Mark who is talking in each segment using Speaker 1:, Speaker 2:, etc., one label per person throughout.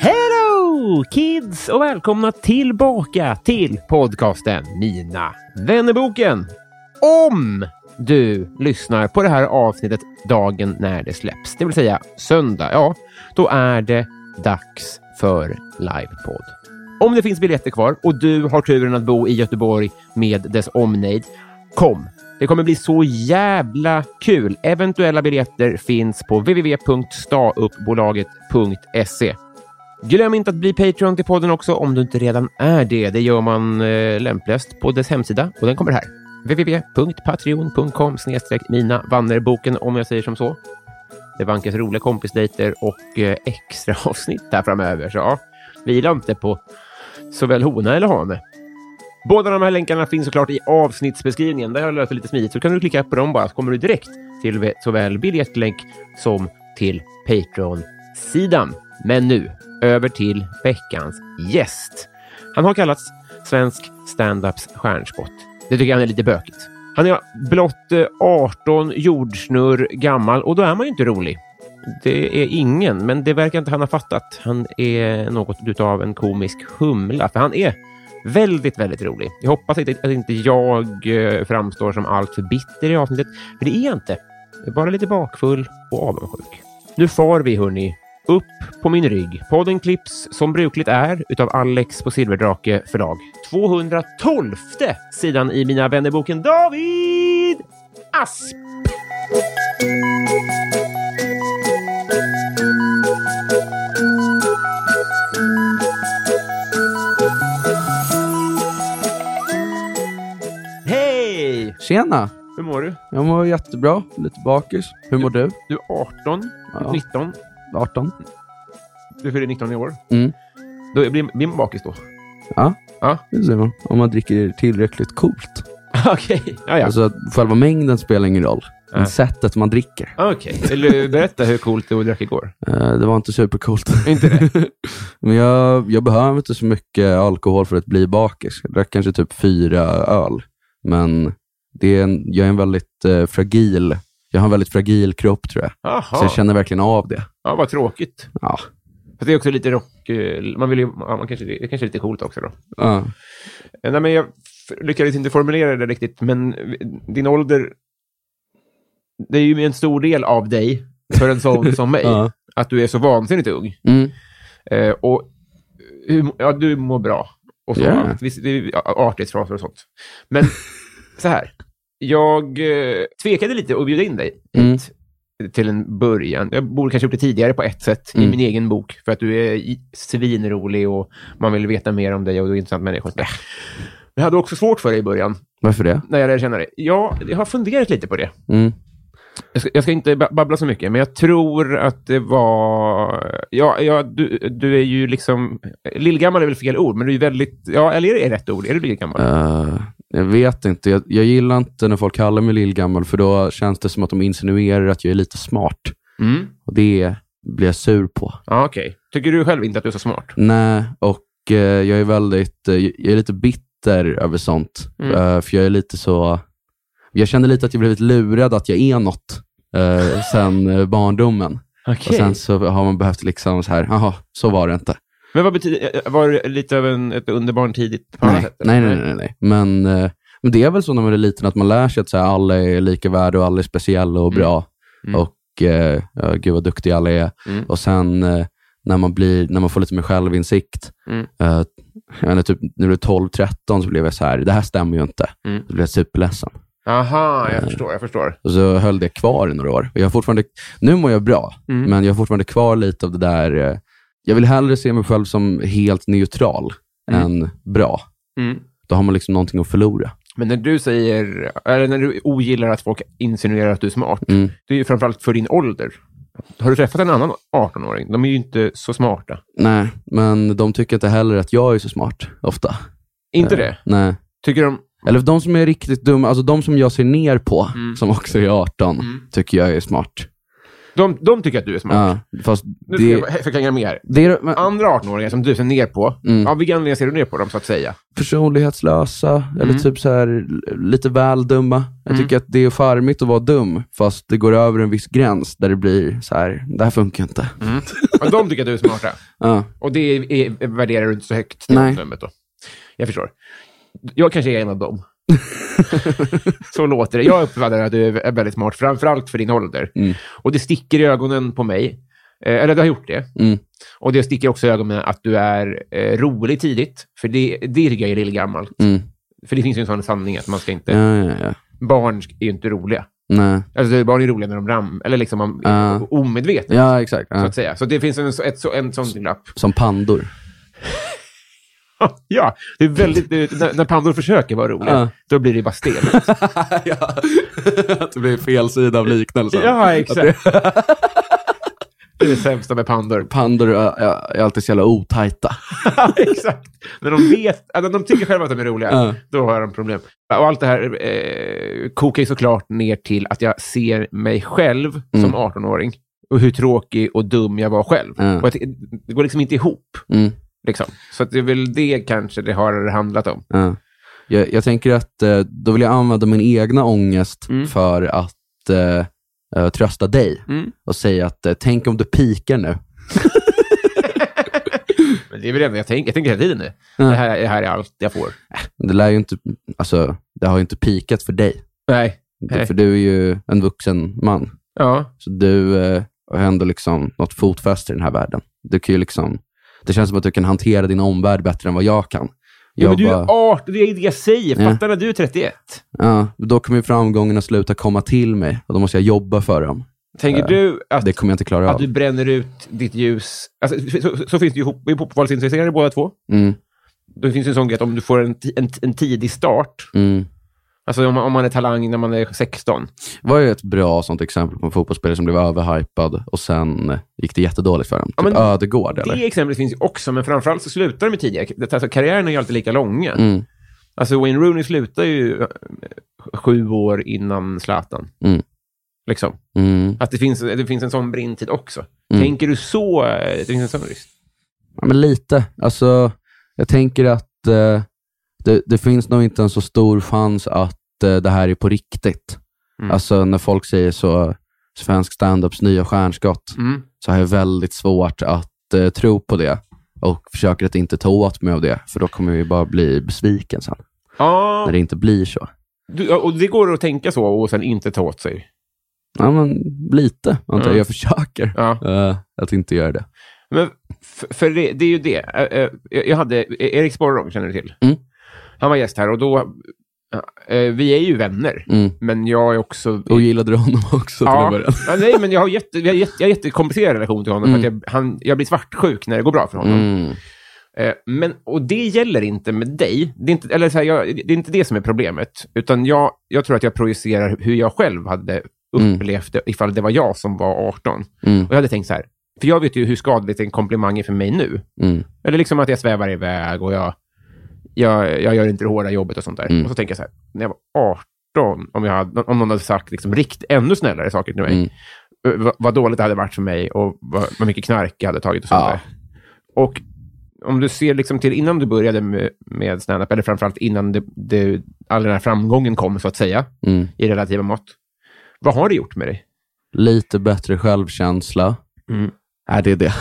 Speaker 1: Hello kids och välkomna tillbaka till podcasten Mina vännerboken. Om du lyssnar på det här avsnittet dagen när det släpps, det vill säga söndag, ja, då är det dags för livepodd. Om det finns biljetter kvar och du har turen att bo i Göteborg med dess omnejd, kom! Det kommer bli så jävla kul. Eventuella biljetter finns på www.stauppbolaget.se. Glöm inte att bli Patreon till podden också om du inte redan är det. Det gör man eh, lämpligast på dess hemsida och den kommer här. www.patreon.com mina vannerboken om jag säger som så. Det vankas roliga kompisdejter och eh, extra avsnitt här framöver. Så ja, vila inte på såväl hona eller hane. Båda de här länkarna finns såklart i avsnittsbeskrivningen. Där har jag löst det lite smidigt. Så kan du klicka på dem bara så kommer du direkt till såväl biljettlänk som till Patreon-sidan. Men nu över till veckans gäst. Han har kallats svensk standups stjärnskott. Det tycker jag är lite bökigt. Han är blott eh, 18 jordsnurr gammal och då är man ju inte rolig. Det är ingen, men det verkar inte han ha fattat. Han är något utav en komisk humla, för han är väldigt, väldigt rolig. Jag hoppas att att inte jag eh, framstår som alltför bitter i avsnittet, för det är jag inte. Jag är bara lite bakfull och avundsjuk. Nu far vi, hörni. Upp på min rygg. Podden klipps som brukligt är utav Alex på Silverdrake förlag. 212 sidan i Mina vännerboken David Asp. Hej!
Speaker 2: Tjena!
Speaker 1: Hur mår du?
Speaker 2: Jag mår jättebra, lite bakis. Hur mår du?
Speaker 1: Du är 18,
Speaker 2: Ja.
Speaker 1: 19.
Speaker 2: 18?
Speaker 1: Du fyller 19 i år.
Speaker 2: Mm.
Speaker 1: Då blir, blir man bakis då?
Speaker 2: Ja,
Speaker 1: Ja.
Speaker 2: det ser man. Om man dricker tillräckligt coolt.
Speaker 1: Okej. Ja, ja.
Speaker 2: Alltså, själva mängden spelar ingen roll, men
Speaker 1: Nej.
Speaker 2: sättet man dricker.
Speaker 1: Okej. Vill du berätta hur coolt du drack igår?
Speaker 2: Eh, det var inte supercoolt. Inte det? men jag, jag behöver inte så mycket alkohol för att bli bakis. Jag drack kanske typ fyra öl, men det är en, jag är en väldigt eh, fragil jag har en väldigt fragil kropp tror jag, så
Speaker 1: Jaha.
Speaker 2: jag känner verkligen av det.
Speaker 1: Ja, vad tråkigt.
Speaker 2: Ja.
Speaker 1: Fast det är också lite rock... eh, Man vill ju, ja, man kanske, det kanske är lite coolt också då.
Speaker 2: Ja.
Speaker 1: Eh, Nej, men jag f- lyckades inte formulera det riktigt, men eh, din ålder... Det är ju en stor del av dig, för en sån som mig,
Speaker 2: Ja.
Speaker 1: att du är så vansinnigt ung.
Speaker 2: Mm.
Speaker 1: Eh, och hur, ja, du mår bra. Och så.
Speaker 2: Ja.
Speaker 1: Visst, det är artighetsfraser och sånt. Men så här. Jag eh, tvekade lite att bjuda in dig
Speaker 2: Mm.
Speaker 1: hit till en början. Jag borde kanske gjort det tidigare på ett sätt i
Speaker 2: Mm.
Speaker 1: min egen bok, för att du är i- svinrolig och man vill veta mer om dig och du är en intressant människa. Men jag hade också svårt för dig i början,
Speaker 2: Varför det?
Speaker 1: när jag lärde känna dig. Ja, jag har funderat lite på det.
Speaker 2: Mm.
Speaker 1: Jag ska, jag ska inte ba- babbla så mycket, men jag tror att det var... Ja, ja du, du är ju liksom... Lillgammal är väl fel ord, men du är ju väldigt... Ja, eller är det rätt ord? Är du lillgammal?
Speaker 2: Eh, jag vet inte. Jag, jag gillar inte när folk kallar mig lillgammal, för då känns det som att de insinuerar att jag är lite smart.
Speaker 1: Mm.
Speaker 2: Och det blir jag sur på.
Speaker 1: Ja, okej. Tycker du själv inte att du är så smart?
Speaker 2: Nej, och eh, jag är väldigt, eh, jag är lite bitter över sånt.
Speaker 1: Mm.
Speaker 2: Eh, för jag är lite så, jag känner lite att jag blivit lurad att jag är något eh, sen eh, barndomen.
Speaker 1: Okej.
Speaker 2: Och sen så har man behövt liksom så här, jaha, så var det inte.
Speaker 1: Men vad betyder, var det lite av en, ett underbarn tidigt på alla
Speaker 2: Nej.
Speaker 1: sätt, eller?
Speaker 2: nej, nej, nej, nej. Men, eh, men det är väl så när man är liten att man lär sig att så här, alla är lika värda och alla är speciella och bra.
Speaker 1: Mm.
Speaker 2: Och eh, ja, gud vad duktiga alla är.
Speaker 1: Mm.
Speaker 2: Och sen eh, när, man blir, när man får lite mer självinsikt,
Speaker 1: Mm.
Speaker 2: eh, jag vet inte, typ, när du är 12-13 så blev jag så här, det här stämmer ju inte.
Speaker 1: Mm.
Speaker 2: Så blev jag superledsen.
Speaker 1: Aha, jag
Speaker 2: Eh.
Speaker 1: förstår, jag förstår.
Speaker 2: Och så höll det kvar i några år. Och jag har fortfarande, nu mår jag bra,
Speaker 1: Mm.
Speaker 2: men jag har fortfarande kvar lite av det där, eh, jag vill hellre se mig själv som helt neutral
Speaker 1: Mm.
Speaker 2: än bra.
Speaker 1: Mm.
Speaker 2: Då har man liksom någonting att förlora.
Speaker 1: Men när du säger, eller när du ogillar att folk insinuerar att du är smart,
Speaker 2: Mm.
Speaker 1: det är ju framförallt för din ålder. Har du träffat en annan 18-åring? De är ju inte så smarta.
Speaker 2: Nej, men de tycker inte heller att jag är så smart, ofta.
Speaker 1: Inte
Speaker 2: Eh,
Speaker 1: det?
Speaker 2: Nej.
Speaker 1: Tycker de...
Speaker 2: Eller de som är riktigt dumma, alltså de som jag ser ner på,
Speaker 1: Mm.
Speaker 2: som också är 18,
Speaker 1: Mm.
Speaker 2: tycker jag är smart.
Speaker 1: De, de tycker att du är smart.
Speaker 2: Ja, fast
Speaker 1: Nu ska jag
Speaker 2: det,
Speaker 1: bara he- förklänga mig här.
Speaker 2: det är men,
Speaker 1: Andra 18-åringar som du ser ner på,
Speaker 2: Mm.
Speaker 1: av vilken anledning ser du ner på dem, så att säga?
Speaker 2: personlighetslösa, eller typ så här lite väl dumma. Jag tycker att det är charmigt att vara dum, fast det går över en viss gräns där det blir så här, det här funkar inte.
Speaker 1: Och de tycker att du är smarta.
Speaker 2: Ja.
Speaker 1: Och det är, är, värderar du inte så högt, det
Speaker 2: Nej.
Speaker 1: omdömet då. Jag förstår. Jag kanske är en av dem. så låter det. Jag uppfattar att du är väldigt smart, framförallt för din ålder.
Speaker 2: Mm.
Speaker 1: Och det sticker i ögonen på mig. Eh, eller det har gjort det.
Speaker 2: Mm.
Speaker 1: Och det sticker också i ögonen att du är eh, rolig tidigt. För det, det tycker jag är lite gammalt.
Speaker 2: Mm.
Speaker 1: För det finns ju en sån sanning att man ska inte...
Speaker 2: Ja, ja, ja.
Speaker 1: Barn är ju inte roliga.
Speaker 2: Nej.
Speaker 1: Alltså, barn är roliga när de ram... Eller liksom man,
Speaker 2: Ja.
Speaker 1: omedvetet,
Speaker 2: Ja, exakt.
Speaker 1: så
Speaker 2: Ja.
Speaker 1: att säga. Så det finns en, så- ett, så- en sån glapp.
Speaker 2: Som pandor.
Speaker 1: Ja, det är väldigt, det, när, när pandor försöker vara roliga,
Speaker 2: Ja.
Speaker 1: då blir det bara stelt.
Speaker 2: ja. Att det blir fel sida av liknelsen.
Speaker 1: ja, exakt. Det är det sämsta med pandor.
Speaker 2: Pandor är, är är alltid så jävla otajta.
Speaker 1: Ja, exakt. När de, vet, ja, när de tycker själva att de är roliga,
Speaker 2: Ja.
Speaker 1: då har de problem. Och allt det här eh, kokar ju såklart ner till att jag ser mig själv
Speaker 2: Mm.
Speaker 1: som 18-åring och hur tråkig och dum jag var själv.
Speaker 2: Ja.
Speaker 1: Och att, det- det går liksom inte ihop.
Speaker 2: Mm.
Speaker 1: Liksom. Så att det är väl det kanske det har handlat om.
Speaker 2: Ja. Jag, jag tänker att eh, då vill jag använda min egna ångest för att eh, eh, trösta dig
Speaker 1: Mm.
Speaker 2: och säga att eh, tänk om du pikar nu.
Speaker 1: Men det är väl det enda jag tänker. Jag tänker hela tiden nu. Det, här, det här är allt jag får.
Speaker 2: Det lär ju inte, alltså, det har ju inte pikat för dig.
Speaker 1: Nej. Nej.
Speaker 2: Du, för du är ju en vuxen man.
Speaker 1: Ja.
Speaker 2: Så du eh, har ändå liksom något fotfäste i den här världen. Du kan ju liksom, det känns som att du kan hantera din omvärld bättre än vad jag kan.
Speaker 1: Ja, men
Speaker 2: Jag
Speaker 1: du
Speaker 2: bara-
Speaker 1: är 18, det är det jag säger.
Speaker 2: Ja.
Speaker 1: Fattar när du är 31.
Speaker 2: Ja, då kommer ju framgångarna sluta komma till mig och då måste jag jobba för dem.
Speaker 1: Tänker du att,
Speaker 2: Det kommer jag inte klara
Speaker 1: att
Speaker 2: av.
Speaker 1: du bränner ut ditt ljus? Alltså, så, så- så finns det ju, hop- vi är popvalsintresserade båda två.
Speaker 2: Mm,
Speaker 1: Det finns ju en sån grej att om du får en, ti- en, en tidig start,
Speaker 2: mm.
Speaker 1: alltså om, man- om man är talang när man är 16.
Speaker 2: Vad är ett bra sånt exempel på en fotbollsspelare som blev överhypad och sen eh, gick det jättedåligt för honom?
Speaker 1: Ja,
Speaker 2: Typ
Speaker 1: men
Speaker 2: Ödegård eller?
Speaker 1: Det exemplet finns ju också, men framförallt så slutar de ju tidigare. Det- Alltså, karriären är ju alltid lika långa.
Speaker 2: Mm,
Speaker 1: Alltså Wayne Rooney slutar ju eh, sju år innan Zlatan.
Speaker 2: Mm.
Speaker 1: Liksom.
Speaker 2: mm.
Speaker 1: Att det finns, det finns en sån brintid också. Tänker du så? eh, Det finns en sån risk?
Speaker 2: Ja, men lite. Alltså, jag tänker att eh, det, det finns nog inte en så stor chans att eh, det här är på riktigt.
Speaker 1: Mm.
Speaker 2: Alltså när folk säger så, svensk standups nya stjärnskott.
Speaker 1: Mm.
Speaker 2: så har jag väldigt svårt att eh, tro på det och försöker att inte ta åt mig av det, för då kommer jag ju bara bli besviken sen,
Speaker 1: Ja,
Speaker 2: när det inte blir så.
Speaker 1: Du, ja, och det går att tänka så och sen inte ta åt sig.
Speaker 2: Ja, men lite, antar
Speaker 1: Mm.
Speaker 2: jag. Jag försöker
Speaker 1: Ja.
Speaker 2: eh, att inte göra det.
Speaker 1: Men f- för det, det är ju det. Eh, eh, Jag jag hade Erik Sporrong, känner du till?
Speaker 2: Mm.
Speaker 1: Han var gäst här och då... ja, eh, Vi är ju vänner,
Speaker 2: Mm.
Speaker 1: men jag är också...
Speaker 2: Och gillade du honom också till en
Speaker 1: ja.
Speaker 2: början?
Speaker 1: ja, nej, men jag har jätte, jag har jätte, jag har jättekomplicerad relation till honom. För att jag, han, jag blir svartsjuk när det går bra för honom.
Speaker 2: Mm.
Speaker 1: Eh, Men, och det gäller inte med dig. Det är inte, eller så här, jag, det är inte det som är problemet. Utan jag, jag tror att jag projicerar hur jag själv hade upplevt det ifall det var jag som var 18.
Speaker 2: Mm.
Speaker 1: Och jag hade tänkt så här, för jag vet ju hur skadligt en komplimang är för mig nu.
Speaker 2: Mm.
Speaker 1: Eller liksom att jag svävar iväg och jag, jag, jag gör inte det hårda jobbet och sånt där.
Speaker 2: Mm.
Speaker 1: Och så tänker jag så här, när jag var 18, om, jag hade, om någon hade sagt liksom, rikt, ännu snällare saker till mig,
Speaker 2: Mm.
Speaker 1: eh, vad, vad dåligt det hade varit för mig och vad, vad mycket knark jag hade tagit och sånt
Speaker 2: Ja.
Speaker 1: där. Och om du ser liksom till innan du började med, med stand-up, eller framförallt innan det, det, all den här framgången kom, så att säga,
Speaker 2: Mm.
Speaker 1: i relativa mått. Vad har det gjort med dig?
Speaker 2: Lite bättre självkänsla.
Speaker 1: Mm.
Speaker 2: Nej, det är det.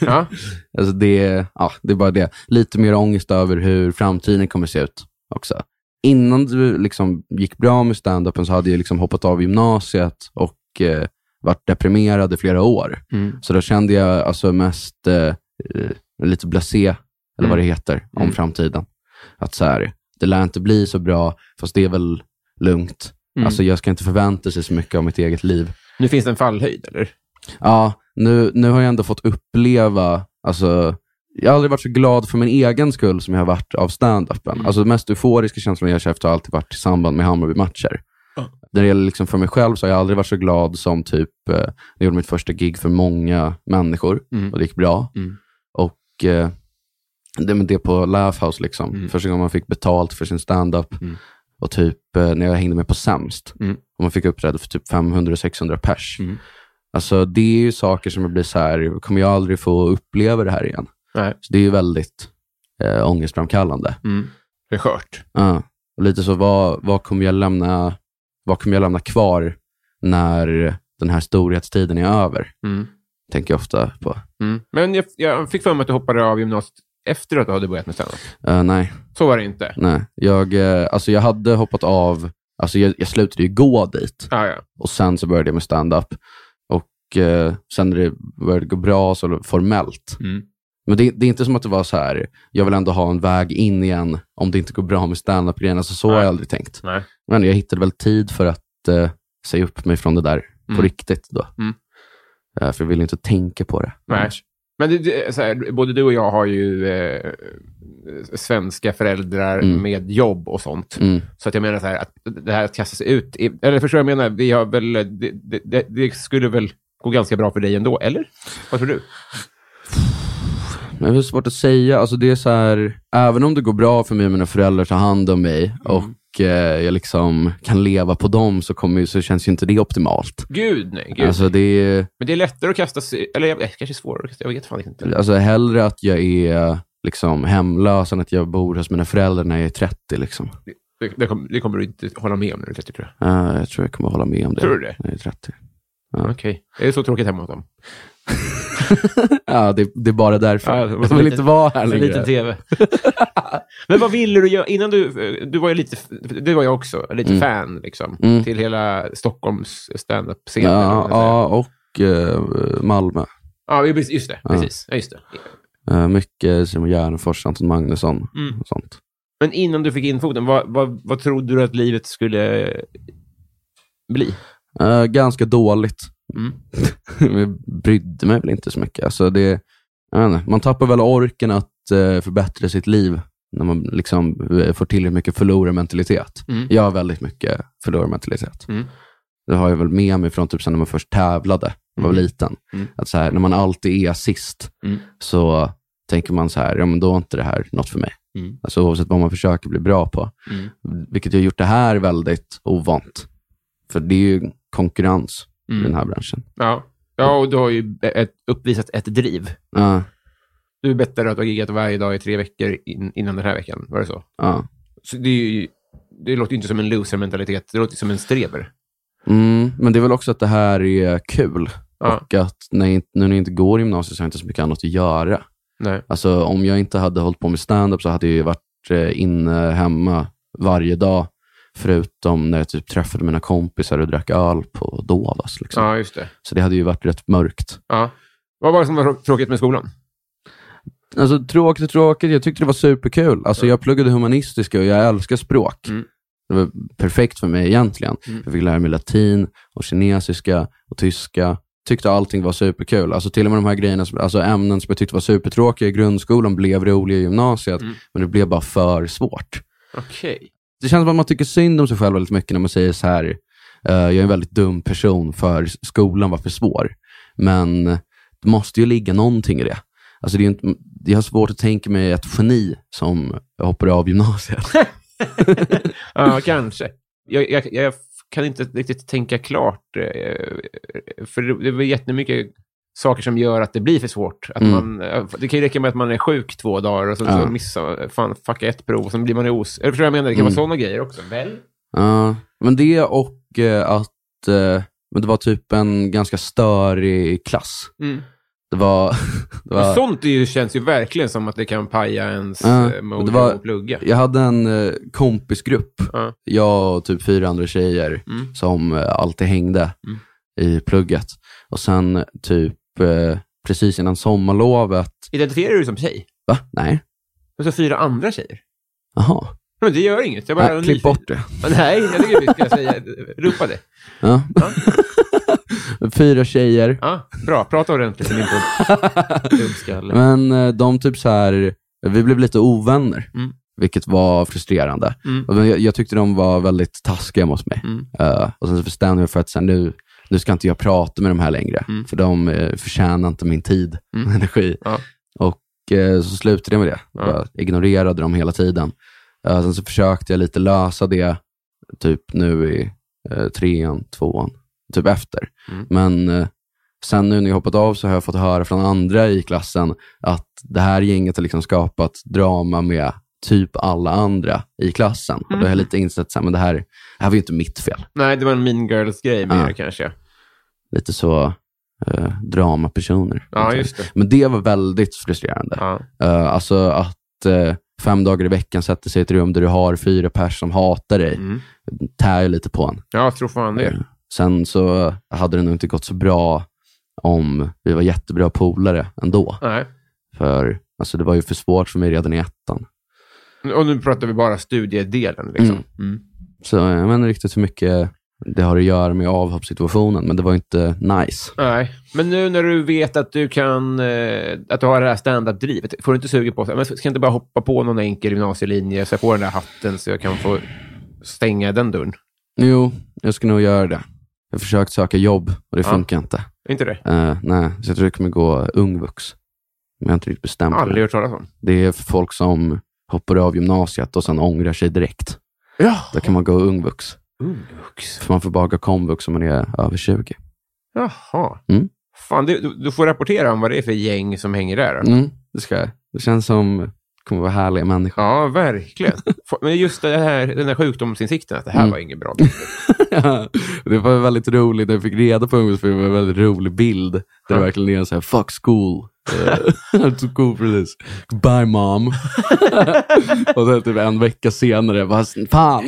Speaker 1: Ja.
Speaker 2: Alltså det, är- ja, det är bara det. Lite mer ångest över hur framtiden kommer se ut också. Innan det liksom gick bra med stand-upen så hade jag liksom hoppat av gymnasiet och eh, varit deprimerad i flera år.
Speaker 1: Mm.
Speaker 2: Så då kände jag alltså mest eh, eh, lite blasé, eller vad det heter, om
Speaker 1: Mm.
Speaker 2: framtiden. Att så här, det lär inte bli så bra, fast det är väl lugnt.
Speaker 1: Mm.
Speaker 2: Alltså jag ska inte förvänta sig så mycket av mitt eget liv.
Speaker 1: Nu finns det en fallhöjd, eller?
Speaker 2: Ja, nu, nu har jag ändå fått uppleva, alltså, jag har aldrig varit så glad för min egen skull som jag har varit av stand-upen.
Speaker 1: Mm.
Speaker 2: Alltså den mest euforiska känslan jag käft har alltid varit i samband med Hammarby-matcher. När det gäller liksom för mig själv så har jag aldrig varit så glad som typ, eh, när jag gjorde mitt första gig för många människor
Speaker 1: Mm.
Speaker 2: och det gick bra.
Speaker 1: Mm.
Speaker 2: Och eh, det, men det på Laugh House, liksom.
Speaker 1: Mm.
Speaker 2: första gången man fick betalt för sin stand-up och typ eh, när jag hängde med på Sämst
Speaker 1: Mm.
Speaker 2: och man fick uppträda för typ 500-600 pers. Alltså det är ju saker som jag blir så här, kommer jag aldrig få uppleva det här igen?
Speaker 1: Nej.
Speaker 2: Så det är ju väldigt eh, ångestframkallande.
Speaker 1: Det är skört.
Speaker 2: Ja. och lite så, vad, vad, kommer jag lämna, vad kommer jag lämna kvar när den här storhetstiden är över?
Speaker 1: Mm.
Speaker 2: Tänker jag ofta på.
Speaker 1: Mm. Men jag, jag fick för mig att du hoppade av gymnasiet efter att du hade börjat med stand
Speaker 2: Eh, nej,
Speaker 1: Så var det inte.
Speaker 2: nej. Jag, eh, alltså jag hade hoppat av, alltså jag, jag slutade ju gå dit.
Speaker 1: Ah, ja.
Speaker 2: Och sen så började jag med stand-up. Och eh, sen när det började gå bra, så formellt,
Speaker 1: Mm.
Speaker 2: Men det, det är inte som att det var så här, jag vill ändå ha en väg in igen om det inte går bra med standup-grejen. Alltså, så har
Speaker 1: Nej.
Speaker 2: jag aldrig tänkt.
Speaker 1: Nej.
Speaker 2: Men jag hittade väl tid för att eh, säga upp mig från det där
Speaker 1: Mm.
Speaker 2: på riktigt. Då.
Speaker 1: Mm.
Speaker 2: Eh, för jag ville inte tänka på det.
Speaker 1: Nej.
Speaker 2: annars.
Speaker 1: Men det, det, är så här, både du och jag har ju eh, svenska föräldrar
Speaker 2: Mm.
Speaker 1: med jobb och sånt.
Speaker 2: Mm.
Speaker 1: Så att jag menar så här, att det här att kasta sig ut... i- Eller förstår du vad jag menar? Vi har väl, eh, det, det- det, det skulle väl gå ganska bra för dig ändå, eller? Vad tror du?
Speaker 2: Men det är svårt att säga. Alltså, det är så här, även om det går bra för mig och mina föräldrar tar hand om mig
Speaker 1: Mm.
Speaker 2: och eh, jag liksom kan leva på dem så, kommer, ju- så känns ju inte det optimalt.
Speaker 1: Gud, nej. Gud.
Speaker 2: Alltså, det är,
Speaker 1: Men det är lättare att kasta sig... Eller jag, eh, kanske svårare att kasta Jag vet fan inte.
Speaker 2: Alltså hellre att jag är liksom hemlös än att jag bor hos mina föräldrar när jag är 30. Liksom.
Speaker 1: Det, det, kommer, det kommer du inte hålla med om när du är 30, tror jag.
Speaker 2: Ja, jag tror jag kommer hålla med om det.
Speaker 1: Tror du det?
Speaker 2: När jag är 30.
Speaker 1: Okej. Det är så tråkigt hemma hos dem.
Speaker 2: Ja, det, det är bara därför.
Speaker 1: Ja, det var
Speaker 2: jag
Speaker 1: så
Speaker 2: vill
Speaker 1: liten-
Speaker 2: inte vara här längre.
Speaker 1: tv. Alltså, Men vad ville du göra innan du... Du var ju lite... Det var jag också. Lite
Speaker 2: Mm.
Speaker 1: fan, liksom.
Speaker 2: Mm.
Speaker 1: Till hela Stockholms standup-scen. eller vad man
Speaker 2: Ja,
Speaker 1: ska säga.
Speaker 2: ja, och eh, Malmö.
Speaker 1: ja, just- just det.
Speaker 2: Ja.
Speaker 1: Precis. Ja, just det.
Speaker 2: Eh, mycket Simon Gärdenfors, Anton Magnusson
Speaker 1: Mm.
Speaker 2: och sånt.
Speaker 1: Men innan du fick in foten, vad, vad, vad trodde du att livet skulle bli?
Speaker 2: Eh, ganska dåligt.
Speaker 1: Mm.
Speaker 2: jag brydde mig väl inte så mycket. Alltså det, jag vet inte, man tappar väl orken att eh, förbättra sitt liv när man liksom eh, får tillräckligt mycket förlorarmentalitet.
Speaker 1: Mm.
Speaker 2: Jag har väldigt mycket förlorarmentalitet.
Speaker 1: Mm.
Speaker 2: Det har jag väl med mig från typ sen när man först tävlade, när man var
Speaker 1: Mm.
Speaker 2: liten.
Speaker 1: Mm.
Speaker 2: Att så här, när man alltid är sist
Speaker 1: Mm.
Speaker 2: så tänker man så här, ja men då är inte det här något för mig.
Speaker 1: Mm.
Speaker 2: Alltså oavsett vad man försöker bli bra på.
Speaker 1: Mm.
Speaker 2: Vilket har gjort det här väldigt ovant. För det är ju konkurrens
Speaker 1: Mm.
Speaker 2: i den här branschen.
Speaker 1: Ja. ja, och du har ju ett, uppvisat ett driv.
Speaker 2: Ja,
Speaker 1: Du berättade att du har giggat varje dag i tre veckor in, innan den här veckan. Var det så?
Speaker 2: ja.
Speaker 1: så det, är ju, det låter ju inte som en loser-mentalitet. Det låter ju som en streber.
Speaker 2: Mm, men det är väl också att det här är kul.
Speaker 1: Ja.
Speaker 2: Och att när jag, inte- nu när jag inte går i gymnasiet så har jag inte så mycket annat att göra.
Speaker 1: Nej.
Speaker 2: Alltså om jag inte hade hållit på med stand-up så hade jag ju varit eh, inne hemma varje dag. Förutom när jag typ träffade mina kompisar och drack öl på Dovas. Liksom.
Speaker 1: Ja, just det.
Speaker 2: Så det hade ju varit rätt mörkt.
Speaker 1: Ja. Vad var det som var trå- tråkigt med skolan?
Speaker 2: Alltså tråkigt och tråkigt. Jag tyckte det var superkul. Alltså jag pluggade humanistiska och jag älskar språk.
Speaker 1: Mm.
Speaker 2: Det var perfekt för mig egentligen. Jag fick lära mig latin och kinesiska och tyska. Tyckte allting var superkul. Alltså till och med de här grejerna, som, alltså ämnen som jag tyckte var supertråkiga i grundskolan blev roliga i gymnasiet. Men det blev bara för svårt.
Speaker 1: Okej.
Speaker 2: Det känns som att man tycker synd om sig själv väldigt mycket när man säger så här, eh, jag är en väldigt dum person för skolan var för svår. Men det måste ju ligga någonting i det. Alltså det är ju inte, jag har svårt att tänka mig ett geni som hoppar av gymnasiet.
Speaker 1: Ja, kanske. Jag, jag, jag kan inte riktigt tänka klart. eh, För det, det är väl jättemycket saker som gör att det blir för svårt. Att
Speaker 2: Mm.
Speaker 1: man, eh, det kan ju räcka med att man är sjuk två dagar och så,
Speaker 2: Ja.
Speaker 1: så missar fan, fucka ett prov och sen blir man os... Eller förstår du vad jag menar? Det kan
Speaker 2: Mm.
Speaker 1: vara sådana grejer också. Väl?
Speaker 2: Ja, men det och eh, att eh, men det var typ en ganska störig klass. Det var... Det var
Speaker 1: Sånt är ju, känns ju verkligen som att det kan paja ens
Speaker 2: Ja,
Speaker 1: uh,
Speaker 2: och
Speaker 1: mode
Speaker 2: det var-
Speaker 1: att plugga.
Speaker 2: jag hade en eh, kompisgrupp,
Speaker 1: Ja.
Speaker 2: jag och typ fyra andra tjejer,
Speaker 1: Mm.
Speaker 2: som eh, alltid hängde
Speaker 1: Mm.
Speaker 2: i plugget. Och sen typ eh, precis innan sommarlovet,
Speaker 1: Identifierar du dig som tjej?
Speaker 2: va? Nej?
Speaker 1: Och så fyra andra tjejer?
Speaker 2: Jaha.
Speaker 1: Men det gör inget. Jag bara
Speaker 2: Nej,
Speaker 1: var
Speaker 2: Äh, klipp
Speaker 1: nyfiken.
Speaker 2: bort det.
Speaker 1: Men Nej, jag tycker vi ska säga, ropa det.
Speaker 2: Ja. Fyra tjejer.
Speaker 1: Ja, bra, prata ordentligt i min podd. Dubbskalle.
Speaker 2: Men eh, de typ så här, vi blev lite ovänner,
Speaker 1: Mm.
Speaker 2: vilket var frustrerande.
Speaker 1: Mm.
Speaker 2: Och jag, jag tyckte de var väldigt taskiga mot mig.
Speaker 1: Mm.
Speaker 2: Eh, och sen så bestämde jag mig för att så här, nu, nu ska inte jag prata med de här längre,
Speaker 1: Mm.
Speaker 2: för de uh, förtjänar inte min tid
Speaker 1: Mm.
Speaker 2: och energi.
Speaker 1: Ja.
Speaker 2: Och eh, så slutade jag med det. Jag
Speaker 1: Ja.
Speaker 2: bara ignorerade dem hela tiden. Eh, sen så försökte jag lite lösa det, typ nu i eh, trean, tvåan, typ efter.
Speaker 1: Mm.
Speaker 2: Men eh, sen nu när jag hoppat av så har jag fått höra från andra i klassen att det här gänget har liksom skapat drama med typ alla andra i klassen. Och
Speaker 1: Mhm.
Speaker 2: då har jag lite insett att det här, det här var ju inte mitt fel.
Speaker 1: Nej, det var en mean girls-grej mer
Speaker 2: Ja.
Speaker 1: kanske.
Speaker 2: Lite så eh, dramapersoner.
Speaker 1: Ja, just det.
Speaker 2: Men det var väldigt frustrerande.
Speaker 1: Ja.
Speaker 2: Eh, alltså att eh, fem dagar i veckan sätta sig i ett rum där du har fyra pers som hatar dig,
Speaker 1: Mm.
Speaker 2: tär ju lite på en.
Speaker 1: ja, jag tror fan det.
Speaker 2: Eh, Sen så hade det nog inte gått så bra om vi var jättebra polare ändå.
Speaker 1: Nej.
Speaker 2: För alltså, det var ju för svårt för mig redan i ettan.
Speaker 1: Och nu pratar vi bara studiedelen. Liksom.
Speaker 2: Mm.
Speaker 1: Mm.
Speaker 2: Så jag vet inte riktigt hur mycket det har att göra med avhoppssituationen, men det var ju inte nice.
Speaker 1: Nej, men nu när du vet att du kan eh, att du har det här standarddrivet, får du inte sugen på så här, men ska jag inte bara hoppa på någon enkel gymnasielinje så jag får den där hatten så jag kan få stänga den dörren?
Speaker 2: Jo, jag ska nog göra det. Jag har försökt söka jobb och det
Speaker 1: Ja.
Speaker 2: funkar inte.
Speaker 1: Är inte det?
Speaker 2: Eh, nej, så jag tror jag kommer gå ungvux. Men jag har inte riktigt bestämt mig.
Speaker 1: Aldrig hört talas om.
Speaker 2: Det är för folk som hoppar av gymnasiet och sen ångrar sig direkt.
Speaker 1: Ja.
Speaker 2: Då kan man gå ungvux.
Speaker 1: Ungvux.
Speaker 2: För man får bara gå komvux om man är över 20.
Speaker 1: Jaha.
Speaker 2: Mm.
Speaker 1: Fan, du, du- du får rapportera om vad det är för gäng som hänger där. då.
Speaker 2: Mm, det ska jag. Det känns som det kommer vara härliga människor.
Speaker 1: Ja, verkligen. Få- Men just det här, den här sjukdomsinsikten, att det här
Speaker 2: Mm.
Speaker 1: var inget bra.
Speaker 2: Ja, det var väldigt roligt när jag fick reda på ungdoms, för det var en väldigt rolig bild. Där
Speaker 1: Ja.
Speaker 2: det verkligen är en sån här, fuck school. Eh, I'm too cool for this. Bye mom. och sen typ en vecka senare, bara, fan.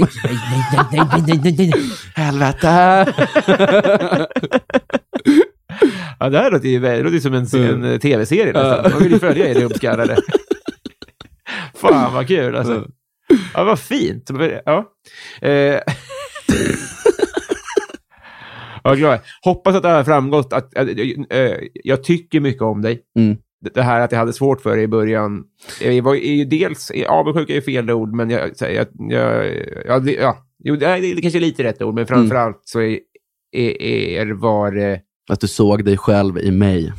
Speaker 2: Helvete.
Speaker 1: Ja, det här låter ju det låter ju som en, en eh, tv-serie nästan. Man vill ju följa er gubbskallade. Fan vad kul alltså. Ja, vad fint. Ja. Eh. Ja, glad. Hoppas att det här har framgått. Att, att, eh, jag tycker mycket om dig.
Speaker 2: Mm.
Speaker 1: Det- Det här att jag hade svårt för dig i början. Eh, Jag var är ju dels, avundsjuka är ju fel ord, men jag, så här, jag, jag, ja, det, ja. Jo, det är kanske är lite rätt ord, men framför allt så är, är, är var eh, det
Speaker 2: Att du såg dig själv i mig.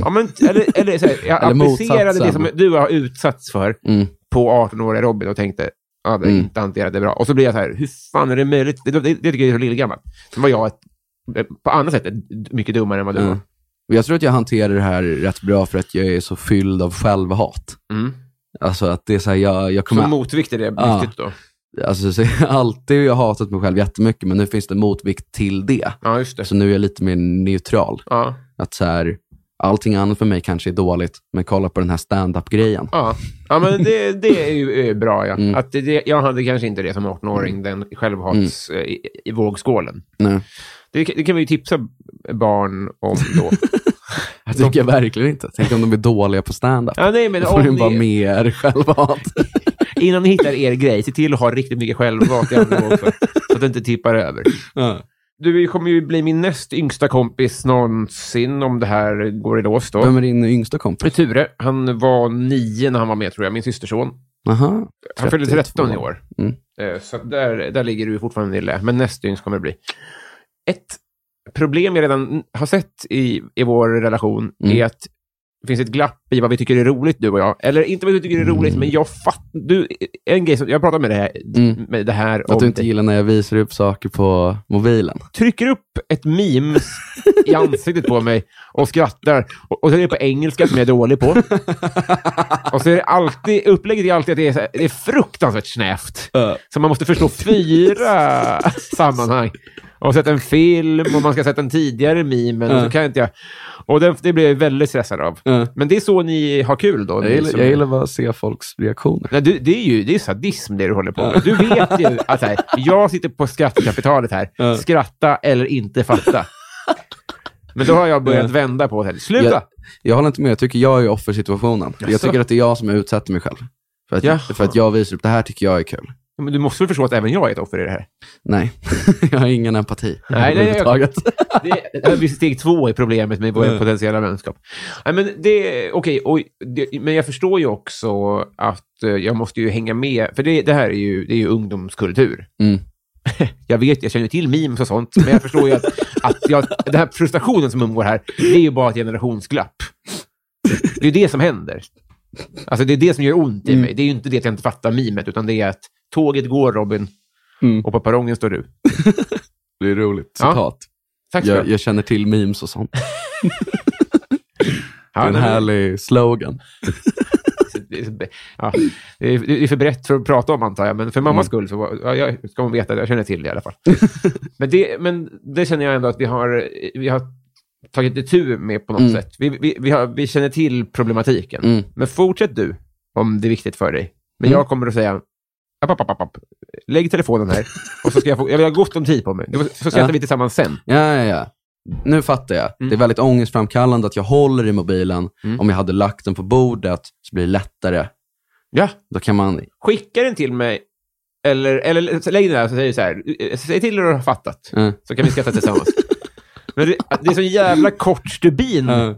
Speaker 1: Ja, men, eller, eller, så här, jag
Speaker 2: Eller
Speaker 1: applicerade det
Speaker 2: motsatsen.
Speaker 1: som du har utsatts för
Speaker 2: Mm.
Speaker 1: på 18-åriga Robin och tänkte ja, det är
Speaker 2: Mm.
Speaker 1: inte hanterat det bra. Och så blir jag så här, hur fan är det möjligt? Det, det, det tycker jag är så lillgammalt. Sen var jag ett, eh, på andra sätt ett- mycket dummare än vad du
Speaker 2: Mm.
Speaker 1: var.
Speaker 2: Och jag tror att jag hanterar det här rätt bra för att jag är så fylld av självhat.
Speaker 1: Mm.
Speaker 2: Alltså att det är så här, jag, jag
Speaker 1: Som
Speaker 2: kommer...
Speaker 1: motvikt till det,
Speaker 2: Ja.
Speaker 1: viktigt då.
Speaker 2: Alltså, så, alltid har jag hatat mig själv jättemycket, men nu finns det motvikt till det.
Speaker 1: Ja, just det.
Speaker 2: Så Alltså, nu är jag lite mer neutral.
Speaker 1: Ja,
Speaker 2: Att så här, allting annat för mig kanske är dåligt, men kolla på den här stand-up-grejen.
Speaker 1: ja. ja men det, det är ju är bra. Ja.
Speaker 2: Mm.
Speaker 1: Att det- det, jag hade kanske inte det som 18-åring, den självhats eh, i, i vågskålen.
Speaker 2: Mm. Nej,
Speaker 1: Det, det kan vi ju tipsa barn om då.
Speaker 2: det tycker jag verkligen inte. Tänk om de är dåliga på stand-up.
Speaker 1: ja, nej, men
Speaker 2: Då får
Speaker 1: om
Speaker 2: de bara
Speaker 1: ni-
Speaker 2: mer självhat.
Speaker 1: Innan ni hittar er grej, se till att ha riktigt mycket självhat i andra våg för, så att det inte tippar över.
Speaker 2: Ja.
Speaker 1: Du kommer ju bli min näst yngsta kompis någonsin om det här går i lås då.
Speaker 2: Vem är din yngsta kompis?
Speaker 1: Ture, han var nio när han var med tror jag, min systerson.
Speaker 2: Aha.
Speaker 1: Han fyllde
Speaker 2: 32.
Speaker 1: 13 i år.
Speaker 2: Mm.
Speaker 1: Eh, Så att där, där ligger du fortfarande i lä, men näst yngst kommer det bli. Ett problem jag redan har sett i, i vår relation
Speaker 2: Mm.
Speaker 1: är att det finns ett glapp i vad vi tycker är roligt, du och jag. Eller inte vad du tycker är roligt, men jag fattar... Du, en grej som... Jag pratar med det här,
Speaker 2: Mm.
Speaker 1: med det här
Speaker 2: Att du
Speaker 1: om...
Speaker 2: inte gillar när jag visar upp saker på mobilen.
Speaker 1: trycker upp ett meme i ansiktet på mig och skrattar. Och, och så är det på engelska som jag är dålig på. Och så är det alltid, upplägget är alltid att det är, så här, det är fruktansvärt snävt. Så man måste förstå fyra sammanhang. Jag har sett en film och man ska ha sett den tidigare mimen. Och
Speaker 2: Ja.
Speaker 1: så kan jag inte jag... Och det, det blir jag väldigt stressad av.
Speaker 2: Ja.
Speaker 1: Men det är så ni har kul då?
Speaker 2: Jag
Speaker 1: ni
Speaker 2: gillar,
Speaker 1: som-
Speaker 2: jag gillar bara att se folks reaktioner.
Speaker 1: Nej, du, det är ju det är sadism det du håller på med. Du vet ju att här, jag sitter på skrattkapitalet här.
Speaker 2: Ja.
Speaker 1: Skratta eller inte fatta. Men då har jag börjat
Speaker 2: Ja.
Speaker 1: vända på det. här. Sluta!
Speaker 2: Jag, jag håller inte med. Jag tycker jag är offer i situationen. Jag
Speaker 1: Jaså?
Speaker 2: tycker att det är jag som är utsatt mig själv. För
Speaker 1: Jaha.
Speaker 2: att, för att jag visar upp, det här tycker jag är kul.
Speaker 1: Ja, Men du måste väl förstå att även jag är ett offer i det här?
Speaker 2: Nej, jag har ingen empati
Speaker 1: Nej, nej, jag-
Speaker 2: överhuvudtaget.
Speaker 1: Det, det här blir steg två i problemet med vår
Speaker 2: Mm.
Speaker 1: potentiella vänskap. Nej, men, det, okej, och det, men jag förstår ju också att eh, jag måste ju hänga med, för det, det här är ju, det är ju ungdomskultur.
Speaker 2: Mm.
Speaker 1: Jag vet, jag känner till memes och sånt, men jag förstår ju att, att jag, den här frustrationen som umgår här, det är ju bara ett generationsglapp. Det är ju det som händer. Alltså det är det som gör ont
Speaker 2: Mm.
Speaker 1: i mig. Det är ju inte det att jag inte fattar mimet, utan det är att tåget går Robin
Speaker 2: Mm.
Speaker 1: och på perrongen står du.
Speaker 2: Det är roligt
Speaker 1: Ja.
Speaker 2: citat.
Speaker 1: Tack ska du
Speaker 2: Jag,
Speaker 1: ha.
Speaker 2: jag känner till memes och sånt. Det
Speaker 1: Ja,
Speaker 2: är en
Speaker 1: nej, men-
Speaker 2: härlig slogan.
Speaker 1: Det är så- Ja, det är det är för brett för att prata om, antar jag. Men för
Speaker 2: Mm.
Speaker 1: mammas skull så var- ja, jag, ska hon veta det. Jag känner till det i alla fall. men, det, men det känner jag ändå att vi har, vi har tagit itu med på något
Speaker 2: Mm.
Speaker 1: sätt. Vi, vi, vi, har, vi känner till problematiken.
Speaker 2: Mm.
Speaker 1: Men fortsätt du, om det är viktigt för dig. Men
Speaker 2: Mm.
Speaker 1: jag kommer att säga, app, app, app, app, app. lägg telefonen här. Och så ska jag, få, jag vill ha gott om tid på mig. Så skrattar
Speaker 2: Ja.
Speaker 1: vi tillsammans sen.
Speaker 2: Ja, ja, ja. Nu fattar jag.
Speaker 1: Mm.
Speaker 2: Det är väldigt ångestframkallande att jag håller i mobilen. Om jag hade lagt den på bordet så blir det lättare.
Speaker 1: Ja.
Speaker 2: Då kan
Speaker 1: Mm.
Speaker 2: man...
Speaker 1: Skicka den till mig. Eller, eller lägg den där och så säger du så här, eh, säg till när du har fattat.
Speaker 2: Mm.
Speaker 1: Så kan vi skratta tillsammans. Men det, det är så jävla kort stubin.
Speaker 2: Det, är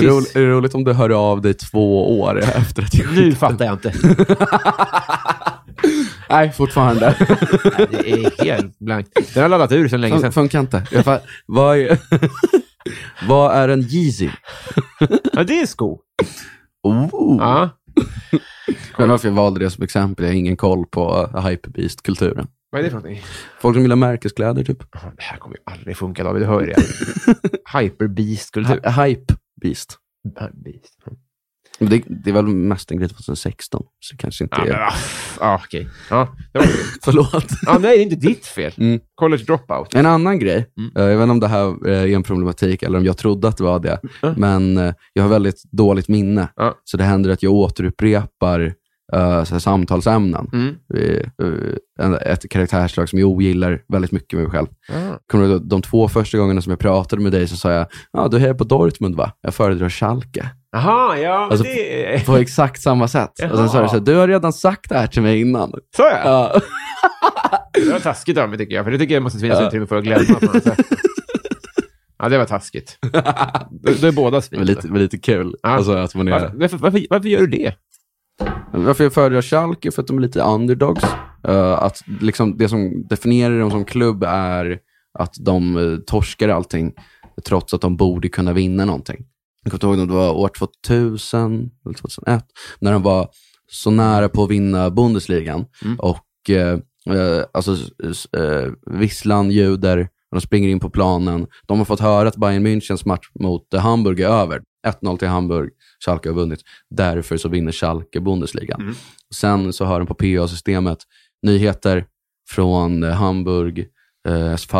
Speaker 1: Tis-
Speaker 2: roligt, det är roligt om du hör av dig två år efter att jag...
Speaker 1: Nu fattar jag inte.
Speaker 2: Nej, fortfarande.
Speaker 1: Nej, Det är helt blankt. Den har laddat ur sedan länge
Speaker 2: Fun,
Speaker 1: sedan.
Speaker 2: funkar inte. Jag fa- vad, är, vad är en Yeezy?
Speaker 1: Ja, det är sko.
Speaker 2: Oh.
Speaker 1: Ja.
Speaker 2: Jag vet varför jag valde det som exempel. Jag har ingen koll på hyperbeast-kulturen.
Speaker 1: Vad är det för någonting?
Speaker 2: Folk som gillar märkeskläder, typ.
Speaker 1: Ja, Det här kommer ju aldrig funka, David. Du hör ju det. Hyperbeast-kultur.
Speaker 2: Hy- Hypebeast.
Speaker 1: Hyperbeast.
Speaker 2: Men Det, det är väl mest en grej 2016, så kanske inte
Speaker 1: Ja, men,
Speaker 2: är...
Speaker 1: ah, ah, okej. Ja, det var det.
Speaker 2: Förlåt.
Speaker 1: Ah, nej, det är inte ditt fel.
Speaker 2: Mm.
Speaker 1: College dropout.
Speaker 2: En annan grej,
Speaker 1: Mm.
Speaker 2: eh, jag vet inte om det här eh, är en problematik eller om jag trodde att det var det,
Speaker 1: Mm.
Speaker 2: men eh, jag har väldigt dåligt minne.
Speaker 1: Ja.
Speaker 2: Så det händer att jag återupprepar eh, så här samtalsämnen.
Speaker 1: Mm.
Speaker 2: Eh, eh, en- ett karaktärsslag som jag ogillar väldigt mycket med mig själv.
Speaker 1: Ah.
Speaker 2: Kommer du ihåg de två första gångerna som jag pratade med dig så sa jag, ja du hejar på Dortmund va? Jag föredrar Schalke.
Speaker 1: Aha, ja, men
Speaker 2: Alltså,
Speaker 1: det...
Speaker 2: På exakt samma sätt. Och sen sa
Speaker 1: Jaha.
Speaker 2: du så här, du har redan sagt det här till mig innan.
Speaker 1: Så ja.
Speaker 2: Ja.
Speaker 1: Det var taskigt av mig, tycker jag. För det tycker jag måste finnas
Speaker 2: Ja.
Speaker 1: utrymme för att glömma. på något sätt. Ja, det var taskigt. Då då är båda
Speaker 2: Det var
Speaker 1: svin.
Speaker 2: lite, det var lite kul.
Speaker 1: Ja.
Speaker 2: Alltså, att man är...
Speaker 1: Varför, varför, varför, varför gör du det?
Speaker 2: Varför jag föredrar Schalke? För att de är lite underdogs. Eh, att liksom det som definierar dem som klubb är att de eh, torskar allting, trots att de borde kunna vinna någonting. Jag kommer inte ihåg om det var år 2000 eller 2001, när de var så nära på att vinna Bundesligan. Och eh, eh, alltså, s- eh, visslan ljuder, och de springer in på planen. De har fått höra att Bayern Münchens match mot eh, Hamburg är över. 1-0 till Hamburg, Schalke har vunnit. Därför så vinner Schalke Bundesligan.
Speaker 1: Mm.
Speaker 2: Sen så hör de på PA-systemet nyheter från eh, Hamburg, eh, SV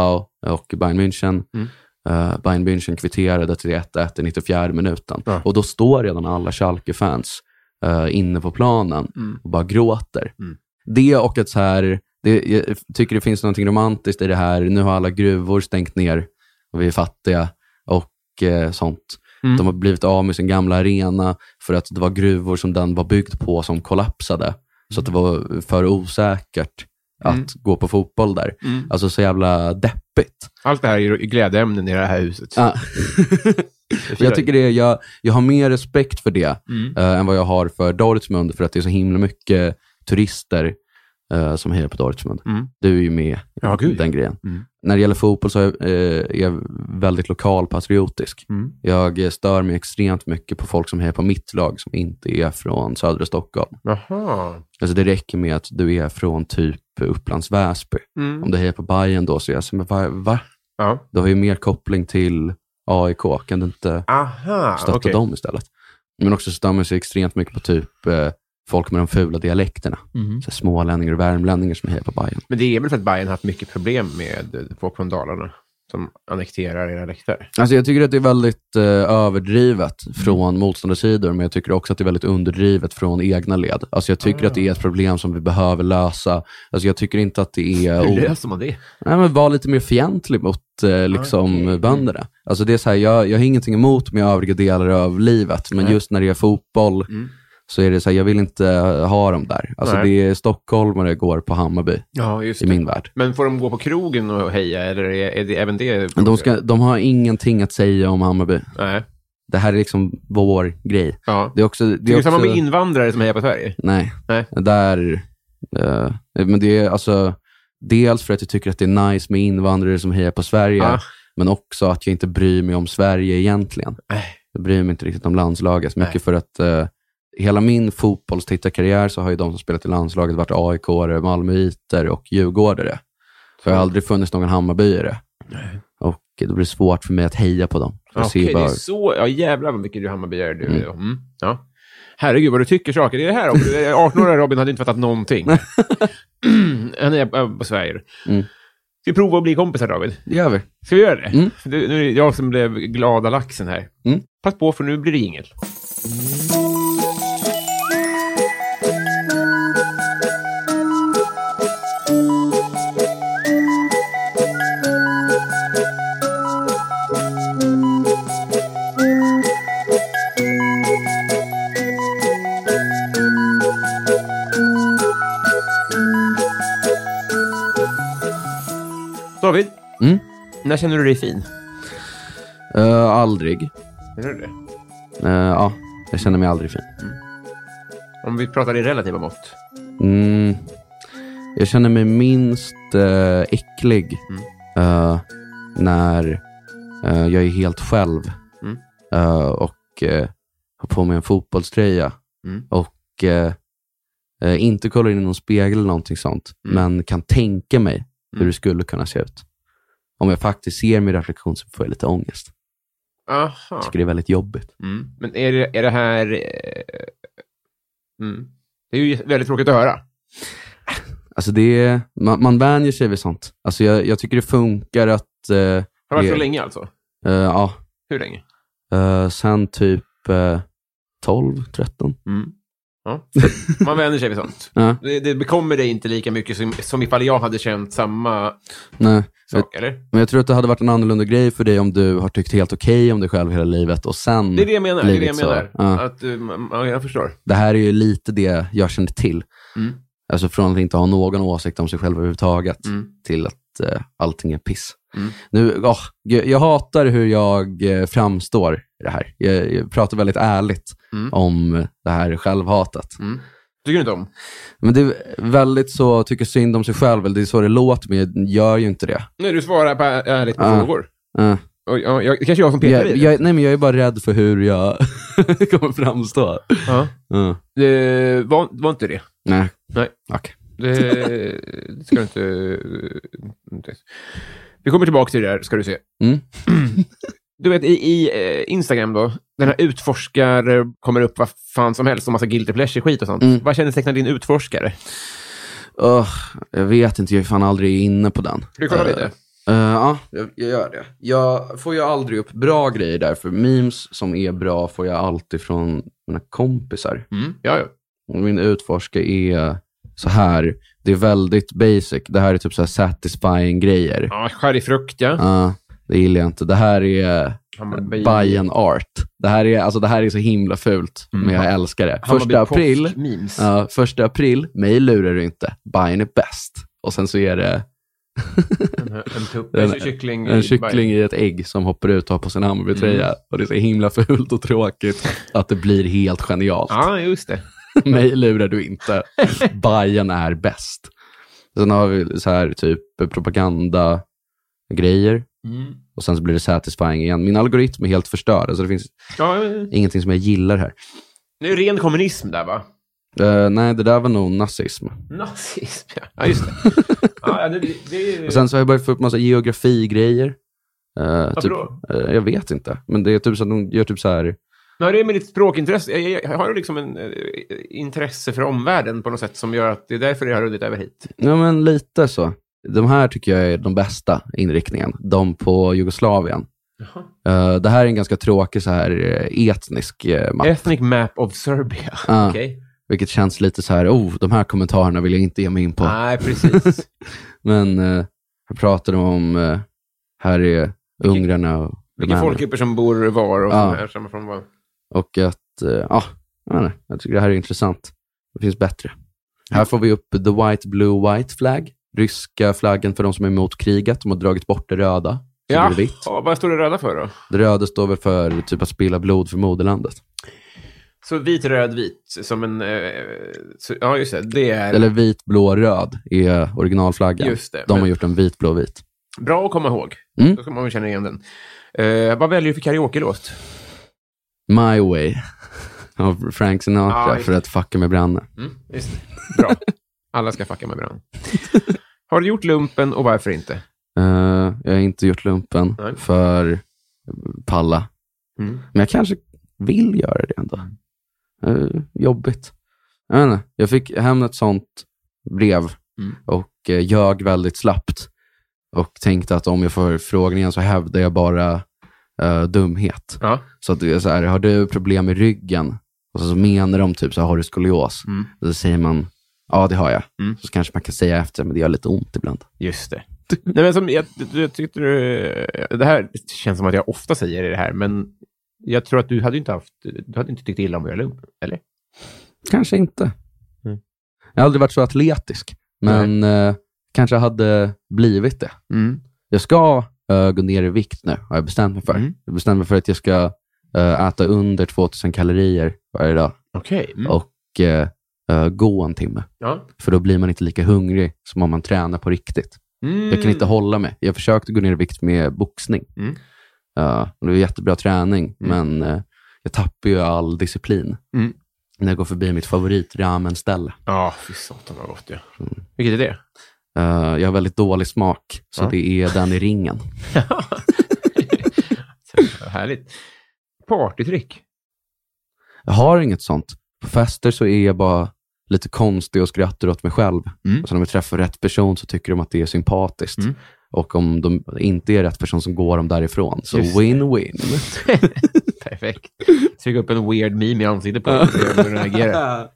Speaker 2: och Bayern München.
Speaker 1: Mm.
Speaker 2: Eh, Bayern München kvitterade till 1-1 i 94 minuten.
Speaker 1: Ja.
Speaker 2: Och då står redan alla Schalke-fans eh, inne på planen och bara gråter.
Speaker 1: Mm.
Speaker 2: Det och att så här, det, jag tycker det finns något romantiskt i det här. Nu har alla gruvor stängt ner och vi är fattiga och eh, sånt.
Speaker 1: Mm.
Speaker 2: De har blivit av med sin gamla arena för att det var gruvor som den var byggd på som kollapsade. Så att det var för osäkert att
Speaker 1: Mm.
Speaker 2: gå på fotboll där.
Speaker 1: Mm.
Speaker 2: Alltså så jävla deppigt.
Speaker 1: Allt det här är ju glädjeämnen i det här huset.
Speaker 2: Ja. jag tycker det, jag, jag har mer respekt för det
Speaker 1: Mm.
Speaker 2: eh, än vad jag har för Dortmund, för att det är så himla mycket turister eh, som hejar på Dortmund.
Speaker 1: Mm.
Speaker 2: Du är ju med
Speaker 1: Ja,
Speaker 2: i
Speaker 1: gud.
Speaker 2: den grejen.
Speaker 1: Mm.
Speaker 2: När det gäller fotboll så är, eh, är jag väldigt lokalpatriotisk.
Speaker 1: Mm.
Speaker 2: Jag eh, stör mig extremt mycket på folk som hejar på mitt lag, som inte är från södra Stockholm.
Speaker 1: Jaha.
Speaker 2: Alltså det räcker med att du är från typ Upplands Väsby.
Speaker 1: Mm.
Speaker 2: Om du hejar på Bayern då, så är jag så, men va, va?
Speaker 1: Ja.
Speaker 2: Du har ju mer koppling till AIK. Kan du inte
Speaker 1: Aha,
Speaker 2: stötta
Speaker 1: Ah, okej.
Speaker 2: dem istället. Men också stör man sig extremt mycket på typ eh, folk med de fula dialekterna.
Speaker 3: Mm.
Speaker 2: Så här smålänningar och värmlänningar som hejar på Bayern.
Speaker 1: Men det är väl för att Bayern har haft mycket problem med eh, folk från Dalarna som annekterar era läktare.
Speaker 2: Alltså jag tycker att det är väldigt eh, överdrivet från motståndarsidor, men jag tycker också att det är väldigt underdrivet från egna led. Alltså jag tycker att det är ett problem som vi behöver lösa. Alltså jag tycker inte att det är...
Speaker 1: Hur löser man det?
Speaker 2: Nej, men var lite mer fientlig mot eh, liksom, bönderna. Alltså det är så här, jag, jag har ingenting emot med övriga delar av livet, men just när det är fotboll så är det så här, jag vill inte ha dem där. Alltså
Speaker 1: Nej.
Speaker 2: det är stockholmare går på Hammarby
Speaker 1: Ja, just
Speaker 2: i min värld.
Speaker 1: Men får de gå på krogen och heja, eller är, är det även det?
Speaker 2: Men De, ska, de har ingenting att säga om Hammarby.
Speaker 1: Nej.
Speaker 2: Det här är liksom vår grej.
Speaker 1: Ja.
Speaker 2: Det är också... Det
Speaker 1: Det
Speaker 2: är
Speaker 1: är
Speaker 2: också,
Speaker 1: samma med invandrare som hejar på Sverige.
Speaker 2: Nej.
Speaker 1: Nej.
Speaker 2: Där, eh, men det är alltså, dels för att jag tycker att det är nice med invandrare som hejar på Sverige,
Speaker 1: Ah.
Speaker 2: men också att jag inte bryr mig om Sverige egentligen.
Speaker 1: Nej.
Speaker 2: Jag bryr mig inte riktigt om landslaget så mycket för att eh, hela min fotbollstittarkarriär så har ju de som spelat i landslaget varit AIK-are, Malmöiter och djurgårdare. Så det har aldrig funnits någon Hammarbyare. Och då blir det svårt för mig att heja på dem. Jag ser
Speaker 1: Okej,
Speaker 2: ju bara-
Speaker 1: det är så... Ja, jävlar vad mycket du Hammarbyare du är. Mm. Ja. Herregud vad du tycker saker. Det är det här också. 18-åriga Robin hade inte fattat någonting. Han är äh, på Sverige.
Speaker 2: Mm.
Speaker 1: Ska vi prova att bli kompisar, David?
Speaker 2: Det gör vi.
Speaker 1: Ska vi göra det?
Speaker 2: Mm.
Speaker 1: Du, nu är det jag som blev glada laxen här.
Speaker 2: Mm.
Speaker 1: Pass på, för nu blir det jingel. David,
Speaker 2: Mm.
Speaker 1: när känner du dig fin?
Speaker 2: Eh, aldrig.
Speaker 1: Känner du det?
Speaker 2: Eh, ja, jag känner mig aldrig fin.
Speaker 1: Om vi pratar i relativa mått.
Speaker 2: Mm. Jag känner mig minst eh, äcklig
Speaker 1: Mm.
Speaker 2: eh, när eh, jag är helt själv
Speaker 1: Mm.
Speaker 2: eh, och eh, har på mig en fotbollströja
Speaker 1: Mm.
Speaker 2: och eh, eh, inte kollar in i någon spegel eller någonting sånt,
Speaker 1: Mm.
Speaker 2: men kan tänka mig hur
Speaker 1: Mm.
Speaker 2: det skulle kunna se ut. Om jag faktiskt ser min reflektion så får jag lite ångest.
Speaker 1: Aha.
Speaker 2: Jag tycker det är väldigt jobbigt.
Speaker 1: Mm. Men är det, är det här... eh, Mm. Det är ju väldigt tråkigt att höra.
Speaker 2: Alltså det är, man, man vänjer sig vid sånt. Alltså jag, jag tycker det funkar att... eh,
Speaker 1: Har det varit
Speaker 2: det-
Speaker 1: så länge alltså?
Speaker 2: eh, ja,
Speaker 1: Hur länge?
Speaker 2: Eh, sen typ eh, 12, 13.
Speaker 1: Mm. Ja. Man vänjer sig vid sånt.
Speaker 2: Ja,
Speaker 1: Det, det bekommer dig inte lika mycket som, som ifall jag hade känt samma
Speaker 2: nej.
Speaker 1: sak, eller?
Speaker 2: Men jag tror att det hade varit en annorlunda grej för dig om du har tyckt helt okej om dig själv hela livet och sen...
Speaker 1: Det är det jag menar. Det är det jag
Speaker 2: Blivit så,
Speaker 1: menar.
Speaker 2: ja.
Speaker 1: Att, eh, man- ja, jag förstår.
Speaker 2: Det här är ju lite det jag kände till.
Speaker 1: Mm.
Speaker 2: Alltså från att inte ha någon åsikt om sig själv överhuvudtaget
Speaker 1: Mm.
Speaker 2: till att eh, allting är piss.
Speaker 1: Mm.
Speaker 2: Nu, åh, jag, jag hatar hur jag eh, framstår i det här. Jag, jag pratar väldigt ärligt
Speaker 1: Mm.
Speaker 2: om det här självhatet.
Speaker 1: Mm. Tycker du inte om?
Speaker 2: Men det är väldigt så, tycker synd om sig själv, eller det är så det låter, men jag gör ju inte det.
Speaker 1: Nej, du svarar på, ärligt på
Speaker 2: Ja.
Speaker 1: frågor.
Speaker 2: Eh.
Speaker 1: Och, ja, jag, det kanske är jag som petar i
Speaker 2: jag,
Speaker 1: det.
Speaker 2: jag, nej, men jag är bara rädd för hur jag kommer framstå.
Speaker 1: Ja.
Speaker 2: Mm.
Speaker 1: Det var, var inte det.
Speaker 2: Nej.
Speaker 1: Nej.
Speaker 2: Okej.
Speaker 1: Det, det ska du inte... inte- Vi kommer tillbaka till det där, ska du se.
Speaker 2: Mm.
Speaker 1: Du vet, i, i eh, Instagram då, den här utforskar kommer upp vad fan som helst, och massa guilty pleasure-skit och sånt.
Speaker 2: Mm.
Speaker 1: Vad kännetecknar din utforskare?
Speaker 2: Öh, jag vet inte, jag är fan aldrig inne på den.
Speaker 1: Du kollar
Speaker 2: Eh,
Speaker 1: lite.
Speaker 2: eh, ja, jag, jag gör det. Jag får ju aldrig upp bra grejer där, för memes som är bra får jag alltid från mina kompisar.
Speaker 1: Mm. Ja, ja.
Speaker 2: Min utforska är så här, det är väldigt basic. Det här är typ så här satisfying grejer.
Speaker 1: ja skär i frukt, ja.
Speaker 2: Ja, det gillar jag inte. Det här är
Speaker 1: Hammarby-
Speaker 2: Bayern art. Det här är, alltså, det här är så himla fult,
Speaker 1: Mm.
Speaker 2: men jag älskar det.
Speaker 1: Hammarby
Speaker 2: Första april,
Speaker 1: påsk-memes.
Speaker 2: ja, första april, mig lurar du inte. Bayern är bäst. Och sen så är
Speaker 1: Mm.
Speaker 2: det
Speaker 1: En, en tupp.
Speaker 2: En-
Speaker 1: En kyckling.
Speaker 2: en
Speaker 1: i
Speaker 2: kyckling
Speaker 1: Bayern.
Speaker 2: i ett ägg som hoppar ut och har på sin Hammarbytröja.
Speaker 1: Mm.
Speaker 2: Och det är så himla fult och tråkigt att det blir helt genialt.
Speaker 1: Ja, just det.
Speaker 2: mig lurar du inte. Bayern är bäst. Sen har vi så här typ propagandagrejer.
Speaker 1: Mm.
Speaker 2: Och sen så blir det satisfying igen. Min algoritm är helt förstörd. Alltså det finns
Speaker 1: Ja,
Speaker 2: ingenting som jag gillar här.
Speaker 1: det är ren kommunism där, va?
Speaker 2: Eh, nej, det där var nog nazism.
Speaker 1: Nazism, ja. Ja, just det. ja, ja, det, det, det
Speaker 2: Och sen så har jag börjat få upp massa geografigrejer. Uh,
Speaker 1: Varför
Speaker 2: typ,
Speaker 1: då?
Speaker 2: eh, jag vet inte. Men det är typ så att de gör typ så här
Speaker 1: Men har det med ditt språkintresse, jag, jag, jag har du liksom en eh, intresse för omvärlden på något sätt som gör att det är därför det har runnit över hit?
Speaker 2: Ja, men lite så. De här tycker jag är den bästa inriktningen. De på Jugoslavien. Eh, det här är en ganska tråkig så här eh, etnisk uh, mapp,
Speaker 1: Ethnic map of Serbia. Ah,
Speaker 2: Ja.
Speaker 1: Okej.
Speaker 2: vilket känns lite så här, oh, de här kommentarerna vill jag inte ge mig in på.
Speaker 1: Nej, precis.
Speaker 2: Men eh, här pratar de om, eh, här är ungrarna och
Speaker 1: Vilka
Speaker 2: rumänerna.
Speaker 1: folkgrupper som bor var och
Speaker 2: Ja.
Speaker 1: som härstammar från var.
Speaker 2: Och att, eh, ja, jag vet inte, jag tycker det här är intressant. Det finns bättre. Här får vi upp the white, blue, white flag. Ryska flaggen för de som är emot kriget. De har dragit bort det röda. Så
Speaker 1: Ja,
Speaker 2: blir det vitt.
Speaker 1: ja, vad står det röda för då?
Speaker 2: Det röda står väl för typ att spilla blod för moderlandet.
Speaker 1: Så vit, röd, vit, som en... Eh, så, ja, just det. Det är
Speaker 2: Eller vit, blå, röd är originalflaggan.
Speaker 1: Just det,
Speaker 2: de har
Speaker 1: men-
Speaker 2: gjort en vit, blå, vit.
Speaker 1: bra att komma ihåg.
Speaker 2: Mm.
Speaker 1: Då ska man känna igen den. Eh, vad väljer du för karaoke-låt?
Speaker 2: My way av
Speaker 1: Ja,
Speaker 2: Frank Sinatra
Speaker 1: just
Speaker 2: för att fucka med Branne.
Speaker 1: Mm, just det. Bra. Alla ska fucka med varandra. Har du gjort lumpen och varför inte?
Speaker 2: Eh, jag har inte gjort lumpen
Speaker 1: Nej.
Speaker 2: för palla.
Speaker 1: Mm.
Speaker 2: Men jag kanske vill göra det ändå. Eh, jobbigt. Jag, vet inte, jag fick hem ett sånt brev
Speaker 1: Mm.
Speaker 2: och uh, ljög väldigt slappt. Och tänkte att om jag får frågan igen så hävdar jag bara eh, dumhet.
Speaker 1: Ja.
Speaker 2: Så att det är så här, har du problem med ryggen? Och så, så menar de typ så här, har du skolios?
Speaker 1: Mm.
Speaker 2: Och så säger man, ja det har jag.
Speaker 1: Mm.
Speaker 2: Så kanske man kan säga efter, men det gör lite ont ibland.
Speaker 1: Just det. Nej, men som jag, jag tyckte du, det här känns som att jag ofta säger det här, men jag tror att du hade ju inte haft, du hade inte tyckt illa om att göra lumpen, eller?
Speaker 2: Kanske inte.
Speaker 1: Mm.
Speaker 2: Jag har aldrig varit så atletisk, men eh, kanske hade blivit det.
Speaker 1: Mm.
Speaker 2: Jag ska eh, gå ner i vikt nu, har jag bestämt mig för.
Speaker 1: Mm.
Speaker 2: Jag bestämde mig för att jag ska eh, äta under 2000 kalorier varje dag
Speaker 1: Okej. Mm.
Speaker 2: och eh, eh, gå en timme.
Speaker 1: Ja.
Speaker 2: För då blir man inte lika hungrig som om man tränar på riktigt.
Speaker 1: Mm.
Speaker 2: Jag kan inte hålla mig. Jag försökte gå ner i vikt med boxning.
Speaker 1: Mm.
Speaker 2: Eh, och det var jättebra träning,
Speaker 1: Mm.
Speaker 2: men eh, jag tappar ju all disciplin
Speaker 1: Mm.
Speaker 2: när jag går förbi mitt favorit ramenställe.
Speaker 1: Ja, fy satan vad gott ja.
Speaker 2: Mm.
Speaker 1: Vilket är det?
Speaker 2: Eh, jag har väldigt dålig smak, så
Speaker 1: Ja.
Speaker 2: det är den i ringen.
Speaker 1: Härligt. Partytrick.
Speaker 2: Jag har inget sånt. På fester så är jag bara lite konstig och skrattar åt mig själv.
Speaker 1: Mm.
Speaker 2: Och sen om jag träffar rätt person så tycker de att det är sympatiskt.
Speaker 1: Mm.
Speaker 2: Och om de inte är rätt person så går de därifrån. Så
Speaker 1: Just det.
Speaker 2: win-win.
Speaker 1: Perfekt. Tryck upp en weird meme i ansiktet på dig och se hur den reagerar.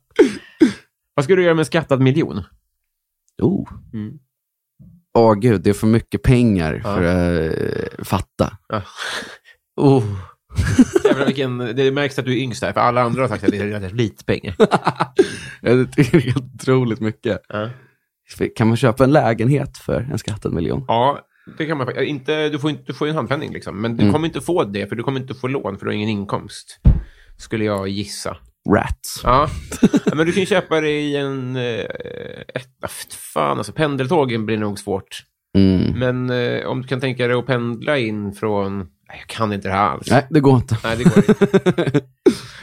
Speaker 1: Vad ska du göra med en skattad miljon?
Speaker 2: Oh.
Speaker 1: Mm.
Speaker 2: Åh gud, det är för mycket pengar
Speaker 1: Ja.
Speaker 2: för att eh, fatta.
Speaker 1: Ja.
Speaker 2: Oh.
Speaker 1: Jävlar, vilken, det märks att du är yngst här, för alla andra har sagt att det är relativt lite pengar.
Speaker 2: Jag tycker det är helt otroligt mycket.
Speaker 1: Ja.
Speaker 2: Kan man köpa en lägenhet för en skattad miljon?
Speaker 1: Ja, det kan man faktiskt. Inte, du får inte du får ju en handpenning, liksom. men du
Speaker 2: Mm.
Speaker 1: kommer inte få det, för du kommer inte få lån, för du har ingen inkomst. Skulle jag gissa.
Speaker 2: Rats.
Speaker 1: Ja, Ja, men du kan ju köpa det i en... eh, Ett, ah, fan, alltså pendeltågen blir nog svårt.
Speaker 2: Mm.
Speaker 1: Men eh, om du kan tänka dig att pendla in från... Nej, Jag kan inte det här alls.
Speaker 2: Nej, det går inte.
Speaker 1: Nej, det går inte.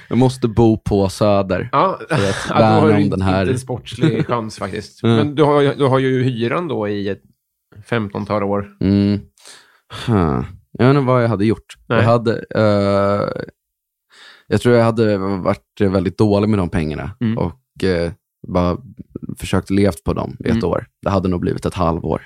Speaker 2: Jag måste bo på Söder.
Speaker 1: Ja,
Speaker 2: att
Speaker 1: ja, då
Speaker 2: värna
Speaker 1: har
Speaker 2: om
Speaker 1: du
Speaker 2: den här-
Speaker 1: inte en sportslig chans faktiskt.
Speaker 2: Mm.
Speaker 1: Men du har, ju- du har ju hyran då i ett 15-tal år.
Speaker 2: Mm. Huh. Jag vet inte vad jag hade gjort.
Speaker 1: Nej.
Speaker 2: Jag, hade, eh, jag tror jag hade varit väldigt dålig med de pengarna
Speaker 1: Mm.
Speaker 2: och eh, bara försökt levt på dem i ett
Speaker 1: Mm.
Speaker 2: år. Det hade nog blivit ett halvår.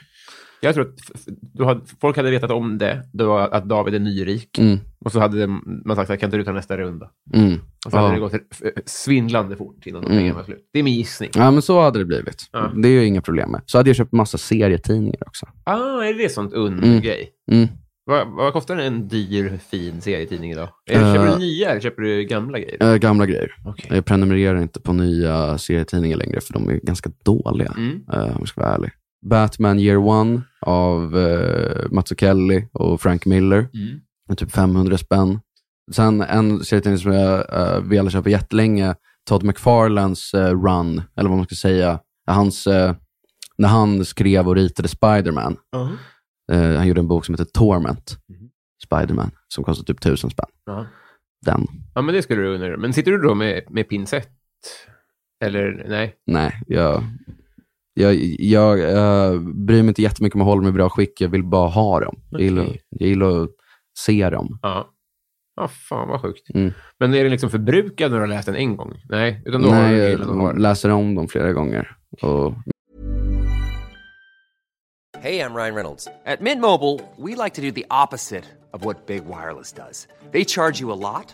Speaker 1: Jag tror att f- f- du hade, folk hade vetat om det, det var att David är nyrik.
Speaker 2: Mm.
Speaker 1: Och så hade de- man sagt att kan inte du ta nästa runda?
Speaker 2: Mm.
Speaker 1: Och så hade
Speaker 2: Ja.
Speaker 1: det gått f- svindlande fort innan de
Speaker 2: Mm.
Speaker 1: pengarna var slut. Det är min gissning.
Speaker 2: Ja, men så hade det blivit.
Speaker 1: Ja.
Speaker 2: Det är ju inga problem med. Så hade jag köpt massa serietidningar också.
Speaker 1: Ah, är det sånt
Speaker 2: Mm.
Speaker 1: und-grej?
Speaker 2: Mm.
Speaker 1: Vad, vad kostar en dyr, fin serietidning idag? Eller köper
Speaker 2: Eh.
Speaker 1: du nya eller köper du gamla grejer?
Speaker 2: Eh, gamla grejer.
Speaker 1: Okej.
Speaker 2: Jag prenumererar inte på nya serietidningar längre, för de är ganska dåliga.
Speaker 1: Mm.
Speaker 2: eh, om jag ska vara ärlig. Batman Year One av uh, Mazzucchelli och Frank Miller.
Speaker 1: Mm.
Speaker 2: med typ 500 spänn. Sen en serietidning som jag uh, velat köpa jättelänge, Todd McFarlanes eh, run, eller vad man ska säga, hans, eh, när han skrev och ritade Spiderman.
Speaker 1: Ja.
Speaker 2: eh, han gjorde en bok som heter Torment,
Speaker 1: Mhm.
Speaker 2: Spiderman, som kostade typ 1000 spänn.
Speaker 1: Ja.
Speaker 2: Den,
Speaker 1: Ja, men det skulle du undra. Men sitter du då med, med pinsett? Eller nej?
Speaker 2: nej, jag, jag, jag eh, bryr mig inte jättemycket om att hålla mig i bra skick, jag vill bara ha dem. Jag, gillar, jag gillar att se dem.
Speaker 1: Ja. Ah, fan vad sjukt.
Speaker 2: Mm.
Speaker 1: Men är den liksom förbrukad när du har läst den en gång? Nej, utan då har
Speaker 2: Nej,
Speaker 1: du den och har
Speaker 2: jag
Speaker 1: den.
Speaker 2: läser om dem flera gånger. Och
Speaker 4: Hey, I'm Ryan Reynolds. At Mint Mobile, we like to do the opposite of what Big Wireless does. They charge you a lot,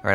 Speaker 4: All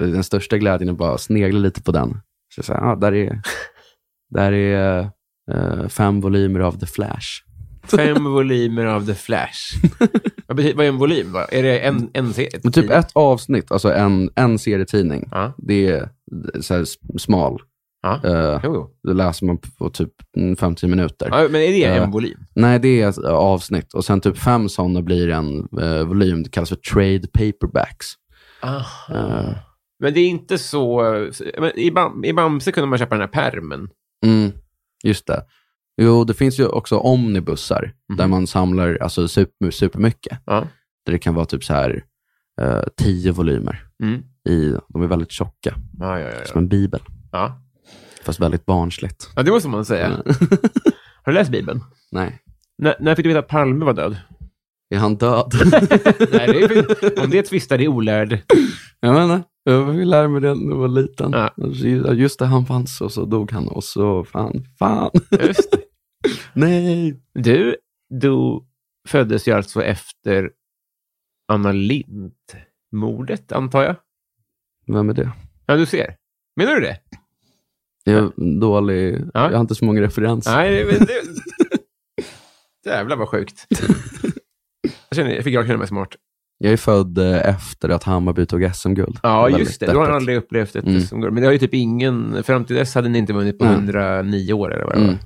Speaker 2: Den största glädjen är bara att snegla lite på den. Så jag säger, ah, där är, där är eh, fem volymer av The Flash.
Speaker 1: Fem volymer av The Flash. vad, betyder, vad är en volym? Då? Är det en, en serie?
Speaker 2: Men typ ett avsnitt, alltså en, en serietidning,
Speaker 1: Ja.
Speaker 2: det är så här s- smal.
Speaker 1: Ja.
Speaker 2: Eh,
Speaker 1: Jo, jo.
Speaker 2: det läser man på typ mm, 50 minuter.
Speaker 1: Ja, men är det
Speaker 2: Ja.
Speaker 1: en volym?
Speaker 2: Nej, det är ett eh, avsnitt. Och sen typ fem sådana blir en eh, volym. Det kallas för trade paperbacks. Eh,
Speaker 1: Men det är inte så... Men i, Bam, I Bamse kunde man köpa den här permen.
Speaker 2: Mm, just det. Jo, det finns ju också omnibussar
Speaker 1: Mhm.
Speaker 2: där man samlar alltså, super, supermycket.
Speaker 1: Ja.
Speaker 2: Där det kan vara typ så här eh, tio volymer.
Speaker 1: Mm.
Speaker 2: I, de är väldigt tjocka,
Speaker 1: Ja, ja, ja,
Speaker 2: som
Speaker 1: ja.
Speaker 2: en bibel.
Speaker 1: ja.
Speaker 2: Fast väldigt barnsligt.
Speaker 1: ja, det måste man säga.
Speaker 2: Mm.
Speaker 1: Har du läst Bibeln?
Speaker 2: Nej,
Speaker 1: När, när fick du veta att Palme var död?
Speaker 2: är han död?
Speaker 1: Nej, det är, om det tvistar det är olärd.
Speaker 2: jag menar, jag fick lära mig det när jag var liten.
Speaker 1: Ja.
Speaker 2: Alltså, Just det, han fanns och så dog han och så fan, fan.
Speaker 1: Just det.
Speaker 2: Nej.
Speaker 1: Du, du föddes ju alltså efter Anna Lindh-mordet, antar jag.
Speaker 2: Vem är det?
Speaker 1: Ja, du ser. Menar du det?
Speaker 2: Jag är dålig,
Speaker 1: Ja.
Speaker 2: jag har inte så många referenser.
Speaker 1: Nej, men det... Jävlar vad sjukt. Jag, känner, jag fick jag känna mig smart.
Speaker 2: Jag är född eh, efter att Hammarby tog SM-guld.
Speaker 1: Ja,
Speaker 2: Väldigt
Speaker 1: just det. Du har
Speaker 2: deppigt.
Speaker 1: aldrig upplevt ett
Speaker 2: Mm.
Speaker 1: som går. Men det har ju typ ingen... Fram till dess hade ni inte vunnit på
Speaker 2: Nej.
Speaker 1: 109 år eller vad det var.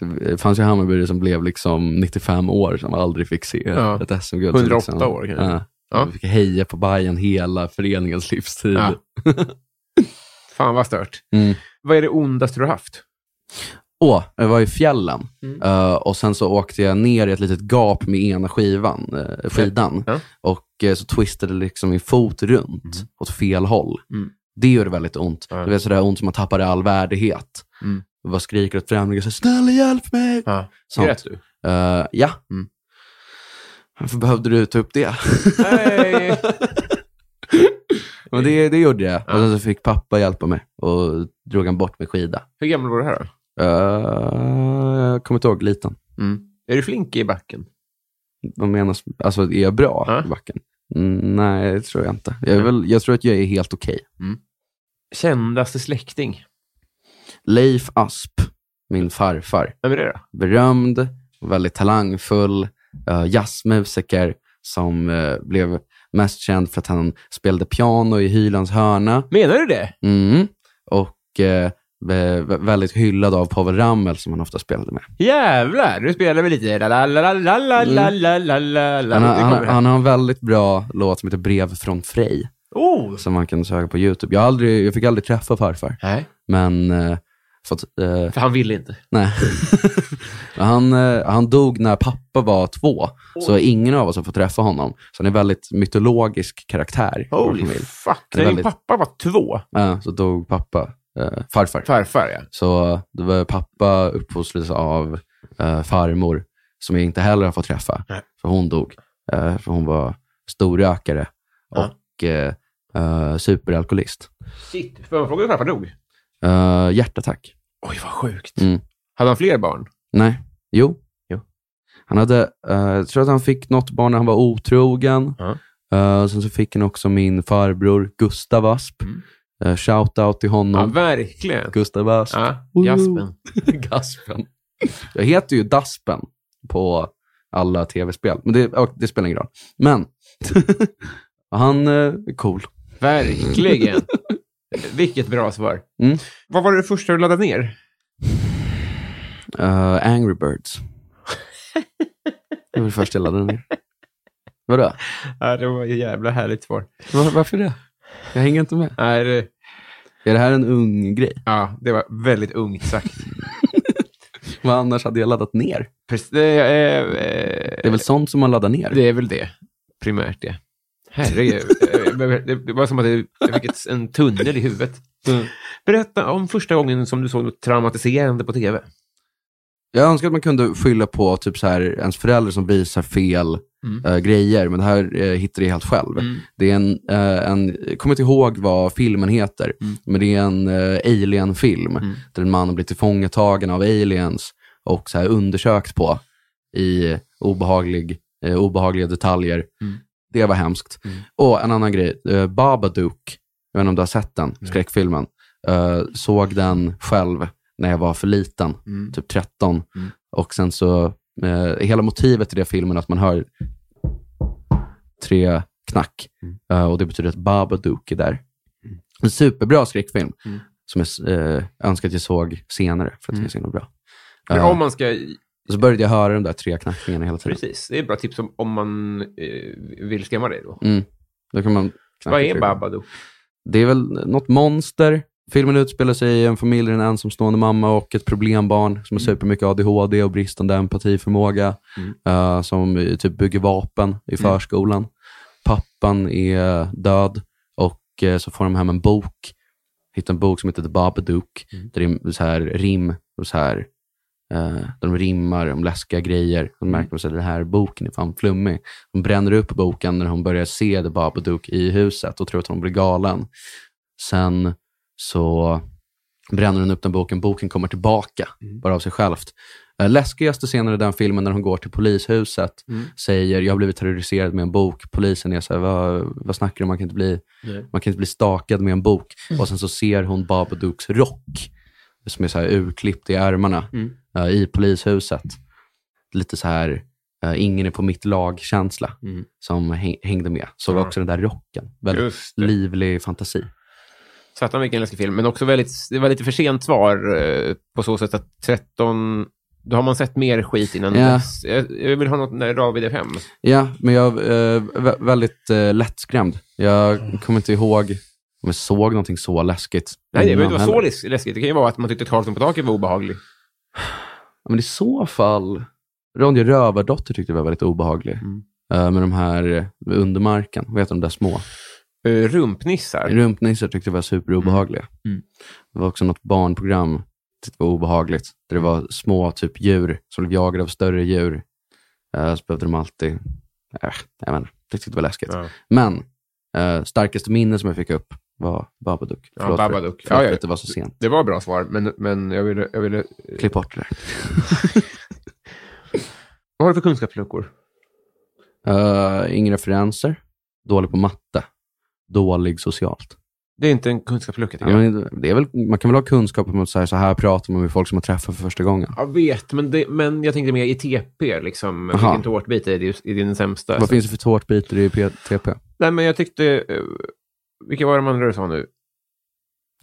Speaker 2: Mm. Det fanns ju Hammarbyare som blev liksom 95 år som aldrig fick se
Speaker 1: Ja.
Speaker 2: ett SM-guld.
Speaker 1: 108
Speaker 2: liksom,
Speaker 1: år kanske.
Speaker 2: Ja.
Speaker 1: Ja.
Speaker 2: De fick heja på Bayern hela föreningens livstid.
Speaker 1: Ja. Fan vad stört.
Speaker 2: Mm.
Speaker 1: Vad är det ondaste du har haft?
Speaker 2: Åh, jag var i fjällen
Speaker 1: Mm.
Speaker 2: Eh, och sen så åkte jag ner i ett litet gap med ena skivan, eh, skidan
Speaker 1: Ja.
Speaker 2: och eh, så twistade liksom min fot runt åt fel håll.
Speaker 1: Mm.
Speaker 2: Det gjorde väldigt ont.
Speaker 1: Ja.
Speaker 2: Det var sådär ont som man tappade all värdighet.
Speaker 1: Mm.
Speaker 2: Jag bara skriker åt främlingar, så här, snälla hjälp mig!
Speaker 1: Ja.
Speaker 2: Sånt.
Speaker 1: Grät du?
Speaker 2: Eh, ja.
Speaker 1: Mm.
Speaker 2: Varför behövde du ta upp det?
Speaker 1: Nej.
Speaker 2: Men det, det gjorde jag. Och sen så fick pappa hjälpa mig och drog han bort min skida.
Speaker 1: Hur gammal var du här då?
Speaker 2: Eh, jag kommer inte ihåg, liten. Mm.
Speaker 1: Är du flink i backen?
Speaker 2: Vad menas? Alltså, är jag bra
Speaker 1: Ja.
Speaker 2: i backen? Mm, nej, det tror jag inte. Jag, är väl, jag tror att jag är helt okej.
Speaker 1: Kändaste släkting?
Speaker 2: Leif Asp, min farfar.
Speaker 1: Vem är det då?
Speaker 2: berömd, väldigt talangfull eh, jazzmusiker som eh, blev mest känd för att han spelade piano i Hylands hörna.
Speaker 1: Menar du det?
Speaker 2: Mm. Och eh, vä- vä- väldigt hyllad av Pavel Ramel som han ofta spelade med.
Speaker 1: Jävlar! Nu spelar vi lite... La, la, la, la, la, la, la, la, la, la, la.
Speaker 2: Mm. Han, har-
Speaker 1: Det kommer
Speaker 2: han,
Speaker 1: här.
Speaker 2: han har en väldigt bra låt som heter Brev från Frej
Speaker 1: Oh!
Speaker 2: som man kan söka på YouTube. Jag, har aldrig, jag fick aldrig träffa farfar,
Speaker 1: Nej,
Speaker 2: men eh, för att, eh,
Speaker 1: för han ville inte.
Speaker 2: Nej. han, eh, han dog när pappa var två, så ingen av oss har fått träffa honom. Så han är en väldigt mytologisk karaktär. i vår
Speaker 1: Holy
Speaker 2: familj.
Speaker 1: fuck!
Speaker 2: Det är
Speaker 1: När din
Speaker 2: väldigt-
Speaker 1: pappa var två,
Speaker 2: Ja, så dog pappa, eh, farfar.
Speaker 1: farfar ja.
Speaker 2: Så det var pappa uppfostrades av eh, farmor, som jag inte heller har fått träffa,
Speaker 1: Nej.
Speaker 2: för hon dog. Eh, för hon var storrökare
Speaker 1: Ja.
Speaker 2: och eh, eh, superalkoholist.
Speaker 1: Shit, får man fråga hur farfar dog?
Speaker 2: Eh, hjärtattack.
Speaker 1: Oj, vad sjukt.
Speaker 2: Mm.
Speaker 1: Hade han fler barn?
Speaker 2: Nej. Jo.
Speaker 1: Jo.
Speaker 2: Han hade, eh, jag tror att han fick något barn när han var otrogen.
Speaker 1: Ja.
Speaker 2: Eh, sen så fick han också min farbror Gustav Asp.
Speaker 1: Mm.
Speaker 2: Eh, shout out till
Speaker 1: Ja,
Speaker 2: honom.
Speaker 1: verkligen.
Speaker 2: Gustav Asp.
Speaker 1: Ja, jaspen.
Speaker 2: Gaspen. Jag heter ju Daspen på alla tv-spel, men det, och det spelar ingen roll. Men han eh, är cool.
Speaker 1: Verkligen. Vilket bra svar.
Speaker 2: Mm.
Speaker 1: Vad var det första du laddade ner?
Speaker 2: Eh, Angry Birds. det var det första jag laddade ner. Vadå?
Speaker 1: Ja, det var ett jävla härligt svar.
Speaker 2: Var, varför det? Jag hänger inte med.
Speaker 1: Nej, det-
Speaker 2: Är det här en ung grej?
Speaker 1: Ja, det var väldigt ungt sagt.
Speaker 2: Vad annars hade jag laddat ner?
Speaker 1: Precis, det, är, eh,
Speaker 2: Det är väl sånt som man laddar ner?
Speaker 1: det är väl det. Primärt det. Herregud. Det- det var som att det- jag fick ett, en tunnel i huvudet.
Speaker 2: Mm.
Speaker 1: Berätta om första gången som du såg något traumatiserande på tv.
Speaker 2: Jag önskar att man kunde skylla på typ så här, ens förälder som visar fel eh, grejer, men det här eh, hittar jag helt själv. Det är en, eh, en, jag kommer inte ihåg vad filmen heter, men det är en eh, alien-film där en man har blivit tillfångatagen av aliens och så här undersökt på i obehaglig, eh, obehagliga detaljer. Det var hemskt. Och en annan grej, eh, Babadook, jag vet inte om du har sett den, skräckfilmen. Eh, såg den själv när jag var för liten, typ 13.
Speaker 1: Mm.
Speaker 2: Och sen så, eh, hela motivet i den filmen är att man hör tre knack.
Speaker 1: Mm.
Speaker 2: Eh, och det betyder att Babadook är där. En superbra skräckfilm,
Speaker 1: Mm.
Speaker 2: som jag eh, önskar att jag såg senare, för att den är så himla bra.
Speaker 1: Men
Speaker 2: Eh,
Speaker 1: om man ska...
Speaker 2: och så började jag höra de där tre knackningarna hela tiden.
Speaker 1: Precis, det är ett bra tips om, om man eh, vill skrämma dig då.
Speaker 2: Mm. Då kan man knacka
Speaker 1: Vad
Speaker 2: tre
Speaker 1: är
Speaker 2: gånger.
Speaker 1: Babadook?
Speaker 2: Det är väl något monster. Filmen utspelar sig i en familj där en ensamstående mamma och ett problembarn som har supermycket ADHD och bristande empatiförmåga. eh, som eh, typ bygger vapen i förskolan. Pappan är död och eh, så får de hem en bok. Hittar en bok som heter The Babadook. Där det är så här rim. Och så här, eh, där de rimmar om läskiga grejer. Och märker man att den här boken är fan flummig. Hon bränner upp boken när hon börjar se The Babadook i huset och tror att hon blir galen. Sen så bränner hon upp den boken. Boken kommer tillbaka,
Speaker 1: Mm.
Speaker 2: bara av sig självt. Eh, Läskigaste scenen i den filmen när hon går till polishuset,
Speaker 1: Mm.
Speaker 2: säger jag har blivit terroriserad med en bok. Polisen är så här, vad, vad snackar du om? Man kan inte bli, man kan inte bli stakad med en bok.
Speaker 1: Mm.
Speaker 2: Och sen så ser hon Babadooks rock, som är så här urklippt i ärmarna,
Speaker 1: Mm.
Speaker 2: eh, i polishuset. Lite så här, eh, ingen är på mitt lag-känsla som häng- hängde med. Så var också den där rocken. Väldigt
Speaker 1: Just det.
Speaker 2: livlig fantasi.
Speaker 1: Satan vilken läskig film, men också väldigt, det var lite för sent svar eh, på så sätt att 13, då har man sett mer skit innan
Speaker 2: Ja.
Speaker 1: dess. Jag, jag vill ha något när David är fem.
Speaker 2: Ja, men jag är väldigt eh, lättskrämd.
Speaker 1: Mm.
Speaker 2: Jag kommer inte ihåg om jag såg någonting så läskigt.
Speaker 1: Nej, det
Speaker 2: innan
Speaker 1: behöver inte vara så
Speaker 2: heller.
Speaker 1: läs- läskigt. Det kan ju vara att man tyckte Karlsson på taket var obehaglig.
Speaker 2: Ja, Men i så fall, Ronja Rövardotter tyckte jag var väldigt obehaglig.
Speaker 1: Mm.
Speaker 2: Eh, med de här eh, undermarken, vad heter de där små?
Speaker 1: Eh, rumpnissar.
Speaker 2: Rumpnissar tyckte jag var superobehagliga.
Speaker 1: Mm.
Speaker 2: Det var också något barnprogram jag tyckte var obehagligt. Där det var små typ djur som blev jagade av större djur. Eh, så behövde de alltid... Äh, jag vet inte. det tyckte jag var läskigt.
Speaker 1: Ja.
Speaker 2: Men eh, starkaste minne som jag fick upp var Babadook.
Speaker 1: Ja,
Speaker 2: för-
Speaker 1: Babadook.
Speaker 2: Förlåt
Speaker 1: Ja, ja.
Speaker 2: för att det var så sent.
Speaker 1: Det var bra svar, men, men jag ville... Jag ville
Speaker 2: Klipp bort det där.
Speaker 1: vad har du för kunskapsluckor?
Speaker 2: Eh, inga referenser. Dålig på matte. Dålig socialt.
Speaker 1: Det är inte en kunskapslucka, tycker
Speaker 2: Ja,
Speaker 1: jag.
Speaker 2: men det är väl, man kan väl ha kunskap om att så här, så här pratar man med folk som man träffar för första gången.
Speaker 1: Jag vet, men, det, men jag tänkte mer i TP, liksom.
Speaker 2: Aha.
Speaker 1: Vilken tårtbit är, det- är din sämsta?
Speaker 2: Vad finns det för tårtbitar i P- TP?
Speaker 1: Nej, men jag tyckte... eh, vilka var de andra du sa nu?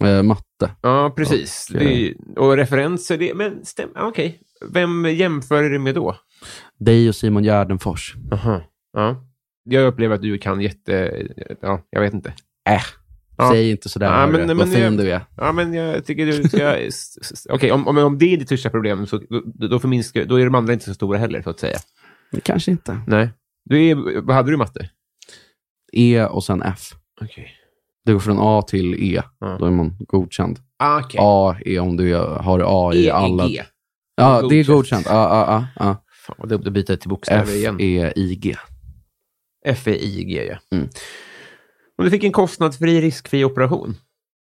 Speaker 2: Eh, matte.
Speaker 1: Ja, precis.
Speaker 2: Och, eh,
Speaker 1: det, är- och referenser, det, men stäm, ja, okej. Vem jämför du med då?
Speaker 2: Dig och Simon Gärdenfors.
Speaker 1: Aha. Ja. Jag upplever att du kan jätte... Ja, jag vet inte.
Speaker 2: Äh.
Speaker 1: Ja.
Speaker 2: Säg inte sådär,
Speaker 1: Ja,
Speaker 2: hörru.
Speaker 1: men- men
Speaker 2: vad fin
Speaker 1: jag-
Speaker 2: du är.
Speaker 1: Ja, men jag tycker du ska... s- s- s- Okej, om, om, om det är ditt största problem, så, då, då, förminskar, då är de andra inte så stora heller, så att säga.
Speaker 2: Men kanske inte.
Speaker 1: Nej. Du är, vad hade du i matte?
Speaker 2: E och sen F.
Speaker 1: Okej.
Speaker 2: Det går från A till E.
Speaker 1: Ja.
Speaker 2: Då är man godkänd.
Speaker 1: Ah, okej.
Speaker 2: A är om du gör- har A i
Speaker 1: E,
Speaker 2: alla...
Speaker 1: I, G.
Speaker 2: Ja, det är
Speaker 1: Godkänt.
Speaker 2: godkänt. Ja, ja, ja, ja.
Speaker 1: Fan, vad dumt att byta till
Speaker 2: F E,
Speaker 1: bokstäver igen.
Speaker 2: är IG.
Speaker 1: F, E, I, G, ja.
Speaker 2: Mm.
Speaker 1: Om du fick en kostnadsfri, riskfri operation?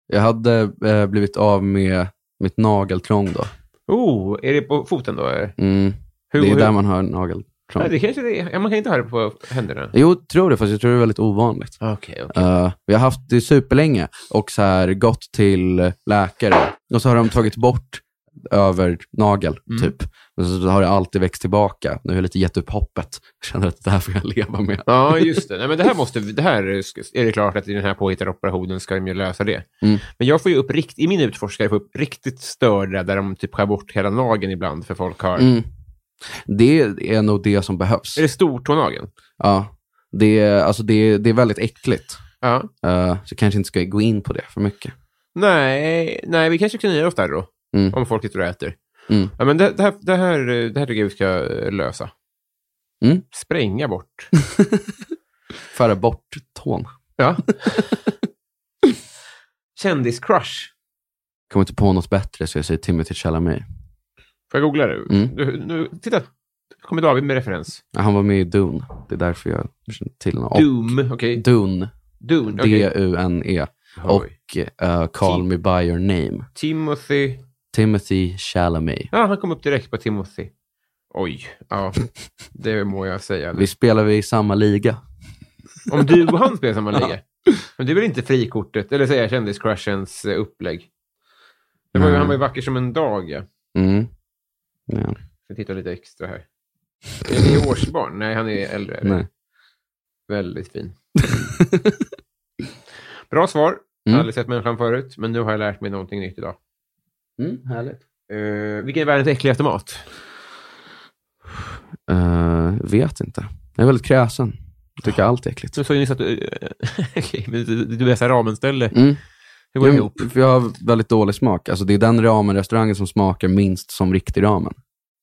Speaker 2: Jag hade eh, blivit av med mitt nageltrång då.
Speaker 1: Oh, är det på foten då? eller?
Speaker 2: Mm.
Speaker 1: Hur,
Speaker 2: det är
Speaker 1: hur,
Speaker 2: där man hör nagel. Patreon.
Speaker 1: Ja, det kanske det är. Ja, man kan inte ha det på händerna.
Speaker 2: Jo, tror det, fast jag tror det är väldigt ovanligt.
Speaker 1: Okej, okej.
Speaker 2: Eh, vi har haft det superlänge och så här gått till läkare och så har de tagit bort över nagel,
Speaker 1: Mm.
Speaker 2: typ. Men så har det alltid växt tillbaka. Nu har jag lite gett upp hoppet. Jag känner att det här får jag leva med.
Speaker 1: Ja, just det. Nej, men det här måste, det här är det klart att i den här påhittade operationen ska de ju lösa det.
Speaker 2: Mm.
Speaker 1: Men jag får ju upp rikt, i min utforskare får jag upp riktigt störda där de typ skär bort hela nageln ibland för folk har...
Speaker 2: Mm. Det är nog det som behövs.
Speaker 1: Är det stortånageln?
Speaker 2: Ja. Det, är, alltså det, är- det är väldigt äckligt.
Speaker 1: Ja.
Speaker 2: Eh, så kanske inte ska gå in på det för mycket.
Speaker 1: Nej, nej, vi kanske kan nöja oss där då.
Speaker 2: Mm.
Speaker 1: Om folk sitter och äter.
Speaker 2: Mm.
Speaker 1: Ja, men det, det, här, det, här, det här tycker jag vi ska eh, lösa.
Speaker 2: Mm.
Speaker 1: Spränga bort.
Speaker 2: Föra bort tån.
Speaker 1: Ja. Kändiscrush.
Speaker 2: Kommer inte på något bättre så jag säger Timothy Chalamet.
Speaker 1: Får jag googla det?
Speaker 2: Mm.
Speaker 1: Du, nu, titta, kommer David med referens.
Speaker 2: Ja, Han var med i Dune. Det är därför jag känner till honom. Och
Speaker 1: Doom, okej.
Speaker 2: Dune.
Speaker 1: Dune, okej.
Speaker 2: D-U-N-E. E. Och
Speaker 1: Oj.
Speaker 2: eh, Call Me By Your Name.
Speaker 1: Timothy.
Speaker 2: Timothy Chalamet.
Speaker 1: Ja, han kom upp direkt på Timothy. Oj, ja. Det må jag säga.
Speaker 2: Vi spelar vi i samma liga.
Speaker 1: Om du och han spelar samma liga. Men det är väl inte frikortet, eller säga kändiscrushens eh, upplägg? Det var ju,
Speaker 2: Nej.
Speaker 1: han var ju vacker som en dag, ja.
Speaker 2: Mm. Ja.
Speaker 1: Jag tittar lite extra här. Är han årsbarn? Nej, han är äldre.
Speaker 2: Nej.
Speaker 1: Väldigt fin. Bra svar. Jag har
Speaker 2: Mm.
Speaker 1: aldrig sett människan förut, men nu har jag lärt mig någonting nytt idag.
Speaker 2: Mm, härligt.
Speaker 1: Uh, vilken är världens äckligaste mat?
Speaker 2: Eh, vet inte. Jag är väldigt kräsen. Jag tycker allt är äckligt.
Speaker 1: Du sa ju nyss att du... eh, Okej, men du, du är så här ramenställe.
Speaker 2: Mm.
Speaker 1: Hur går det
Speaker 2: Jo,
Speaker 1: ihop?
Speaker 2: För jag har väldigt dålig smak. Alltså, det är den ramenrestaurangen som smakar minst som riktig ramen.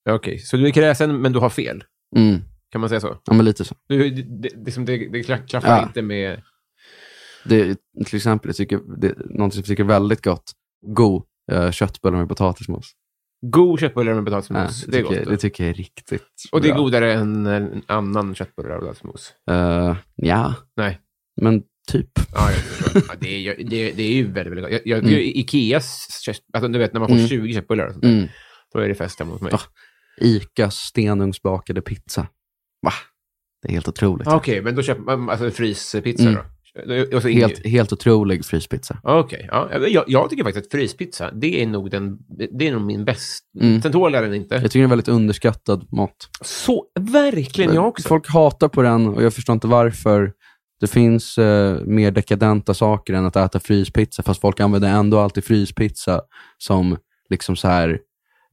Speaker 1: Ja, Okej, så du är kräsen, men du har fel.
Speaker 2: Mm.
Speaker 1: Kan man säga så?
Speaker 2: Ja, men lite så.
Speaker 1: Du, det, det, det, som- det, det kla- klaffar
Speaker 2: Ja.
Speaker 1: inte med...
Speaker 2: Det, till exempel, jag tycker, det, någonting som jag tycker är väldigt gott. God eh, köttbullar med potatismos.
Speaker 1: God köttbullar med
Speaker 2: Ja,
Speaker 1: potatismos.
Speaker 2: det,
Speaker 1: det är
Speaker 2: tycker,
Speaker 1: gott.
Speaker 2: jag- det tycker jag är riktigt
Speaker 1: och det är
Speaker 2: bra.
Speaker 1: godare än en annan köttbullar med potatismos.
Speaker 2: Eh, ja.
Speaker 1: Nej.
Speaker 2: Men typ.
Speaker 1: Ja, jag förstår. ja, det, är, ju- det, det är ju väldigt, väldigt gott. Jag, jag, det är ju Ikeas kött, alltså, du vet när man får
Speaker 2: Mm.
Speaker 1: 20 köttbullar och sånt,
Speaker 2: Mm. Ah.
Speaker 1: då är det fest hemma hos mig.
Speaker 2: Ja, Icas stenugnsbakade pizza. Va? Det är helt otroligt.
Speaker 1: Ah, Okej, men då köper man alltså, fryspizza
Speaker 2: Mm.
Speaker 1: då? Och så Helt...
Speaker 2: Helt, helt otrolig fryspizza.
Speaker 1: Okej, ja, jag, jag tycker faktiskt att fryspizza, det är nog, den, det är nog min bästa.
Speaker 2: Mm.
Speaker 1: Sen tål jag den inte.
Speaker 2: Jag tycker det är en väldigt underskattad mat.
Speaker 1: Så, verkligen jag också.
Speaker 2: Folk hatar på den och jag förstår inte varför. Det finns eh, mer dekadenta saker än att äta fryspizza, fast folk använder ändå alltid fryspizza som liksom så här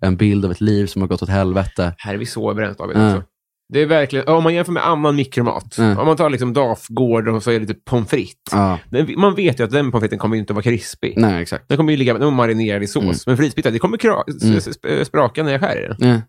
Speaker 2: en bild av ett liv som har gått åt helvete.
Speaker 1: Här är vi så överens David.
Speaker 2: Mm.
Speaker 1: Alltså. Det är verkligen, om man jämför med annan mikromat,
Speaker 2: Mm.
Speaker 1: om man tar liksom Dafgård och så är det lite pommes frites.
Speaker 2: Ja,
Speaker 1: Den- Man vet ju att den pommes fritesen kommer ju inte att vara krispig.
Speaker 2: nej exakt.
Speaker 1: Den kommer ju ligga den var marinerad i sås.
Speaker 2: Mm.
Speaker 1: Men frispizza, det kommer kra- s-
Speaker 2: Mm.
Speaker 1: s- sp- eh, spraka när jag skär i den.
Speaker 2: Ja.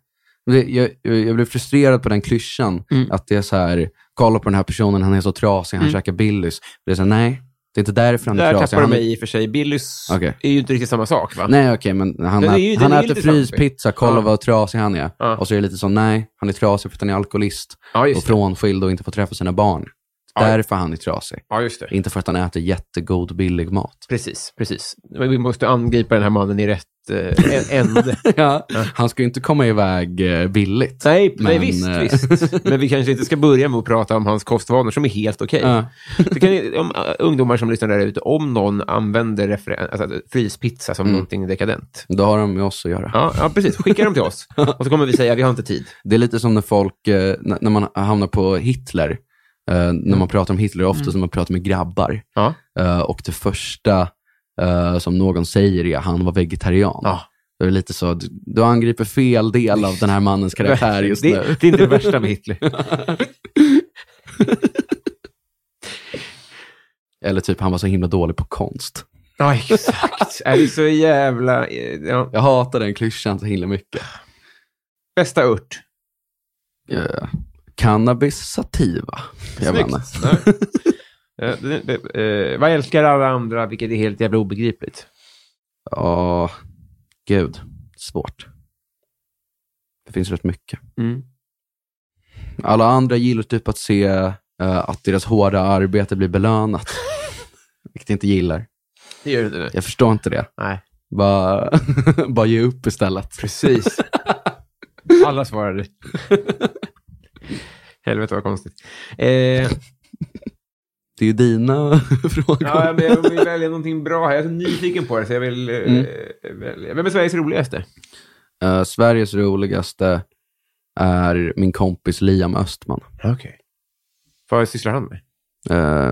Speaker 2: Det, jag, jag jag blev frustrerad på den klyschan,
Speaker 1: Mm.
Speaker 2: att det är så här, kolla på den här personen, han är så trasig, han käkar Billys. Det är så här, nej, det är inte därför han
Speaker 1: Där
Speaker 2: är trasig.
Speaker 1: tappar du
Speaker 2: Han är-
Speaker 1: mig i och för sig. Billys
Speaker 2: Okej.
Speaker 1: är ju inte riktigt samma sak, va?
Speaker 2: Nej, okej, men han,
Speaker 1: Den är
Speaker 2: ät,
Speaker 1: ju- den
Speaker 2: han
Speaker 1: är ju
Speaker 2: äter
Speaker 1: lite trassig.
Speaker 2: fryspizza, kolla
Speaker 1: Ja.
Speaker 2: vad trasig han är.
Speaker 1: Ja.
Speaker 2: Och så är det lite så, nej, han är trasig för att han är alkoholist
Speaker 1: Ja,
Speaker 2: och
Speaker 1: just det.
Speaker 2: frånskild och inte får träffa sina barn.
Speaker 1: Ja.
Speaker 2: Därför han är trasig.
Speaker 1: Ja, just det.
Speaker 2: Inte för att han äter jättegod, billig mat.
Speaker 1: Precis, precis. Men vi måste angripa den här mannen i rätt eh, ä- ände.
Speaker 2: ja. Han ska ju inte komma iväg eh, billigt.
Speaker 1: nej, nej,
Speaker 2: Men,
Speaker 1: visst,
Speaker 2: eh,
Speaker 1: visst. Men vi kanske inte ska börja med att prata om hans kostvanor som är helt okej.
Speaker 2: Ja.
Speaker 1: Det kan ju- om, äh, ungdomar som lyssnar där ute, om någon använder referen- alltså, fryspizza som någonting dekadent.
Speaker 2: Då har de med oss att göra.
Speaker 1: Ja, ja, precis. Skicka dem till oss. Och så kommer vi säga, vi har inte tid.
Speaker 2: Det är lite som när folk, eh, när när man hamnar på Hitler, eh, när
Speaker 1: Mm.
Speaker 2: man pratar om Hitler, ofta som man pratar med grabbar.
Speaker 1: Ja.
Speaker 2: Eh, och det första eh, som någon säger är att han var vegetarian.
Speaker 1: Ja.
Speaker 2: Det är lite så, du, du angriper fel del av den här mannens karaktär just
Speaker 1: det,
Speaker 2: nu.
Speaker 1: det är inte det värsta med Hitler.
Speaker 2: Eller typ, han var så himla dålig på konst.
Speaker 1: Ja, exakt. Är det så jävla... eh, Ja.
Speaker 2: Jag hatar den klyschan så himla mycket.
Speaker 1: Bästa ört.
Speaker 2: Eh, cannabis sativa. Jag vet inte.
Speaker 1: Ja, det- det- eh, Vad älskar alla andra, vilket är helt jävla obegripligt.
Speaker 2: Ja, gud. Svårt. Det finns rätt mycket.
Speaker 1: Mm.
Speaker 2: Alla andra gillar typ att se eh, att deras hårda arbete blir belönat. Vilket jag inte gillar.
Speaker 1: Det gör du inte nu.
Speaker 2: Jag förstår inte det.
Speaker 1: Nej,
Speaker 2: Bara, bara ge upp istället.
Speaker 1: precis. Alla svarade. Helvete vad konstigt. Eh,
Speaker 2: Det är ju dina frågor.
Speaker 1: ja, men jag vill välja någonting bra här. Jag är så nyfiken på det, så jag vill eh, välja. Vem är Sveriges roligaste?
Speaker 2: Eh, Sveriges roligaste är min kompis Liam Östman.
Speaker 1: Okej. Vad sysslar han med?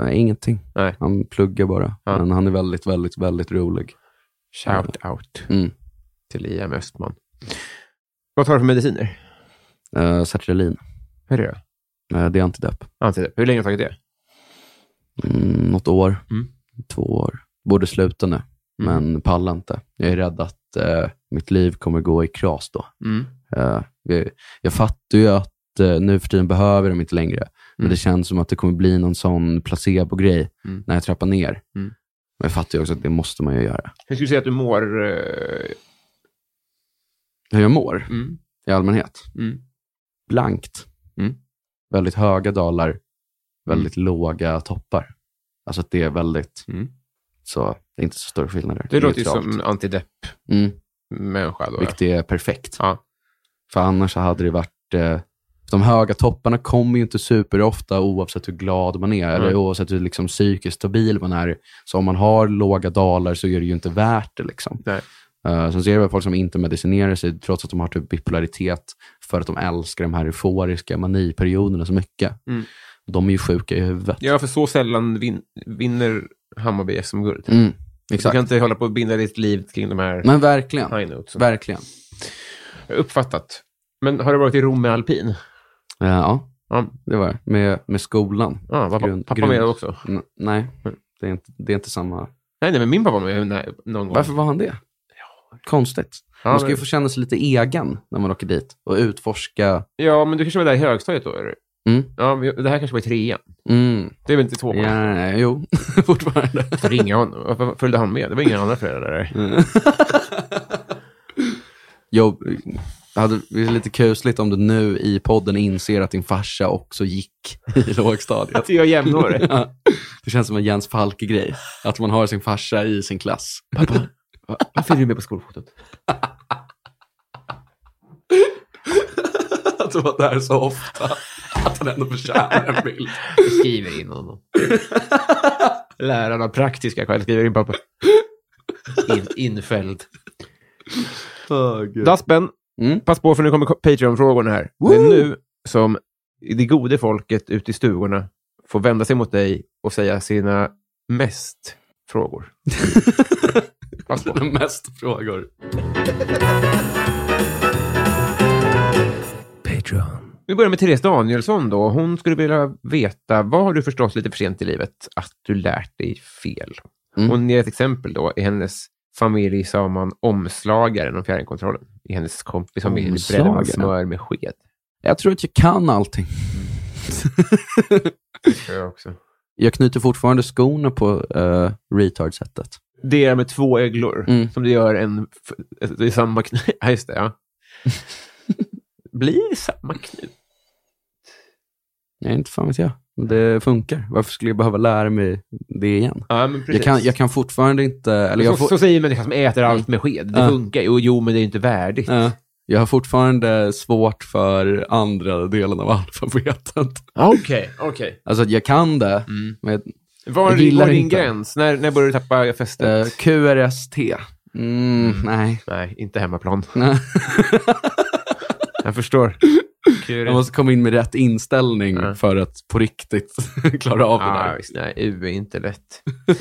Speaker 2: Eh, ingenting.
Speaker 1: Nej.
Speaker 2: Han pluggar bara.
Speaker 1: Ja.
Speaker 2: Men han är väldigt, väldigt, väldigt rolig.
Speaker 1: Shout out
Speaker 2: Mm.
Speaker 1: till Liam Östman. Vad tar du för mediciner?
Speaker 2: Eh, sertralin.
Speaker 1: Hur är det?
Speaker 2: Eh, det är antidepp.
Speaker 1: Antidepp. Hur länge har du tagit det?
Speaker 2: Mm, något år.
Speaker 1: Mm.
Speaker 2: Två år. Borde sluta nu,
Speaker 1: Mm.
Speaker 2: men pallar inte. Jag är rädd att eh, mitt liv kommer gå i kras då.
Speaker 1: Mm.
Speaker 2: Eh, jag, jag fattar ju att eh, nu för tiden behöver de inte längre, men
Speaker 1: Mm.
Speaker 2: det känns som att det kommer bli någon sån placebo-grej
Speaker 1: Mm.
Speaker 2: när jag trappar ner.
Speaker 1: Mm.
Speaker 2: Men jag fattar ju också att det måste man ju göra.
Speaker 1: Hur skulle du säga att du mår? eh,
Speaker 2: Hur jag mår i allmänhet?
Speaker 1: Mm.
Speaker 2: Blankt.
Speaker 1: Mm.
Speaker 2: Väldigt höga dalar, väldigt låga toppar. Alltså att det är väldigt,
Speaker 1: Mm.
Speaker 2: så det är inte så stora skillnader.
Speaker 1: Det låter ju
Speaker 2: Neutralt.
Speaker 1: som en antidepp-människa
Speaker 2: Mm.
Speaker 1: då. ja.
Speaker 2: Vilket är perfekt.
Speaker 1: Ja.
Speaker 2: För annars så hade det varit... Eh, de höga topparna kommer ju inte superofta oavsett hur glad man är eller
Speaker 1: Nej.
Speaker 2: oavsett hur liksom, psykiskt stabil man är. Så om man har låga dalar så är det ju inte värt det. Liksom.
Speaker 1: Nej.
Speaker 2: Eh, sen ser jag väl folk som inte medicinerar sig trots att de har typ bipolaritet för att de älskar de här euforiska maniperioderna så mycket.
Speaker 1: Mm.
Speaker 2: De är ju sjuka i huvudet.
Speaker 1: Ja, för så sällan vin- vinner Hammarby SM-guld.
Speaker 2: Mm,
Speaker 1: Du
Speaker 2: exakt.
Speaker 1: kan inte hålla på att binda ditt liv kring de här
Speaker 2: Men verkligen.
Speaker 1: high notesen.
Speaker 2: Verkligen.
Speaker 1: Uppfattat. Men har du varit i Rom med alpin?
Speaker 2: Eh, ja,
Speaker 1: Ja,
Speaker 2: det var det. Med, med skolan.
Speaker 1: ja var
Speaker 2: Grund-
Speaker 1: Ah, pappa
Speaker 2: grund-
Speaker 1: med också? Mm.
Speaker 2: N- nej, det är, inte, det är inte samma.
Speaker 1: Nej, nej, men min pappa var med när, någon gång.
Speaker 2: Varför var han det? Konstigt.
Speaker 1: Ja,
Speaker 2: man ska ju
Speaker 1: men,
Speaker 2: få känna sig lite egen när man åker dit och utforska.
Speaker 1: ja, men du kanske var där i högstadiet då? Eller?
Speaker 2: Mm.
Speaker 1: Ja, vi- det här kanske var i trean.
Speaker 2: Mm.
Speaker 1: Det är väl inte två
Speaker 2: Ja,
Speaker 1: år? Yeah.
Speaker 2: nej, nej, jo, fortfarande.
Speaker 1: Ringa honom. Varför följde han med? Det var inga andra föräldrar där.
Speaker 2: Mm. Jo, det hade det är lite kusligt om du nu i podden inser att din farsa också gick i lågstadiet.
Speaker 1: Att Alltså, jag är jämnårig.
Speaker 2: Ja. Det känns som en Jens Falke-grej, att man har sin farsa i sin klass.
Speaker 1: Pappa, varför är du med på skolfotot?
Speaker 2: Att du var där så ofta, att han ändå förtjänar en bild.
Speaker 1: Jag skriver in honom. Läraren av praktiska skäl skriver in pappa. In, infälld. Daspen,
Speaker 2: Mm.
Speaker 1: pass på för nu kommer Patreon-frågorna här. Det är nu som det gode folket ute i stugorna får vända sig mot dig och säga sina mest frågor. pass på.
Speaker 2: Den mest frågor.
Speaker 1: Vi börjar med Therese Danielsson då. Hon skulle vilja veta, vad har du förstått lite för sent i livet att du lärt dig fel?
Speaker 2: Mm.
Speaker 1: Hon ger ett exempel då. I hennes familj sa man omslagaren om fjärrkontrollen. I hennes kompis familj bredde man
Speaker 2: Omslagaren?
Speaker 1: smör med sked.
Speaker 2: Jag tror att jag kan allting.
Speaker 1: Jag också.
Speaker 2: jag knyter fortfarande skorna på uh, retard-sättet.
Speaker 1: Det är med två öglor
Speaker 2: Mm.
Speaker 1: som det gör en... f- Det är samma knut. Ja, just det. Ja. Blir det samma knut?
Speaker 2: Nej, inte fan vet jag. Men det funkar. Varför skulle jag behöva lära mig det igen?
Speaker 1: Ja, men
Speaker 2: Jag kan, jag kan fortfarande inte... Eller
Speaker 1: så,
Speaker 2: jag, får, Mm.
Speaker 1: så säger människan som äter allt med sked. Det
Speaker 2: Ja.
Speaker 1: funkar ju. Jo, men det är ju inte värdigt.
Speaker 2: Ja. jag har fortfarande svårt för andra delen av alfabetet.
Speaker 1: Okej, okej.
Speaker 2: Alltså, att jag kan det,
Speaker 1: Mm.
Speaker 2: men
Speaker 1: Var
Speaker 2: Jag
Speaker 1: är din-
Speaker 2: gillar
Speaker 1: var är din
Speaker 2: inte.
Speaker 1: gräns? När, när börjar du tappa fästet?
Speaker 2: eh, QRST. Mm, nej.
Speaker 1: Nej, inte hemmaplan.
Speaker 2: Nej.
Speaker 1: jag förstår.
Speaker 2: Jag måste komma in med rätt inställning
Speaker 1: Ja.
Speaker 2: för att på riktigt klara av det
Speaker 1: Ja,
Speaker 2: där.
Speaker 1: Ah, visst, nej, U är inte lätt.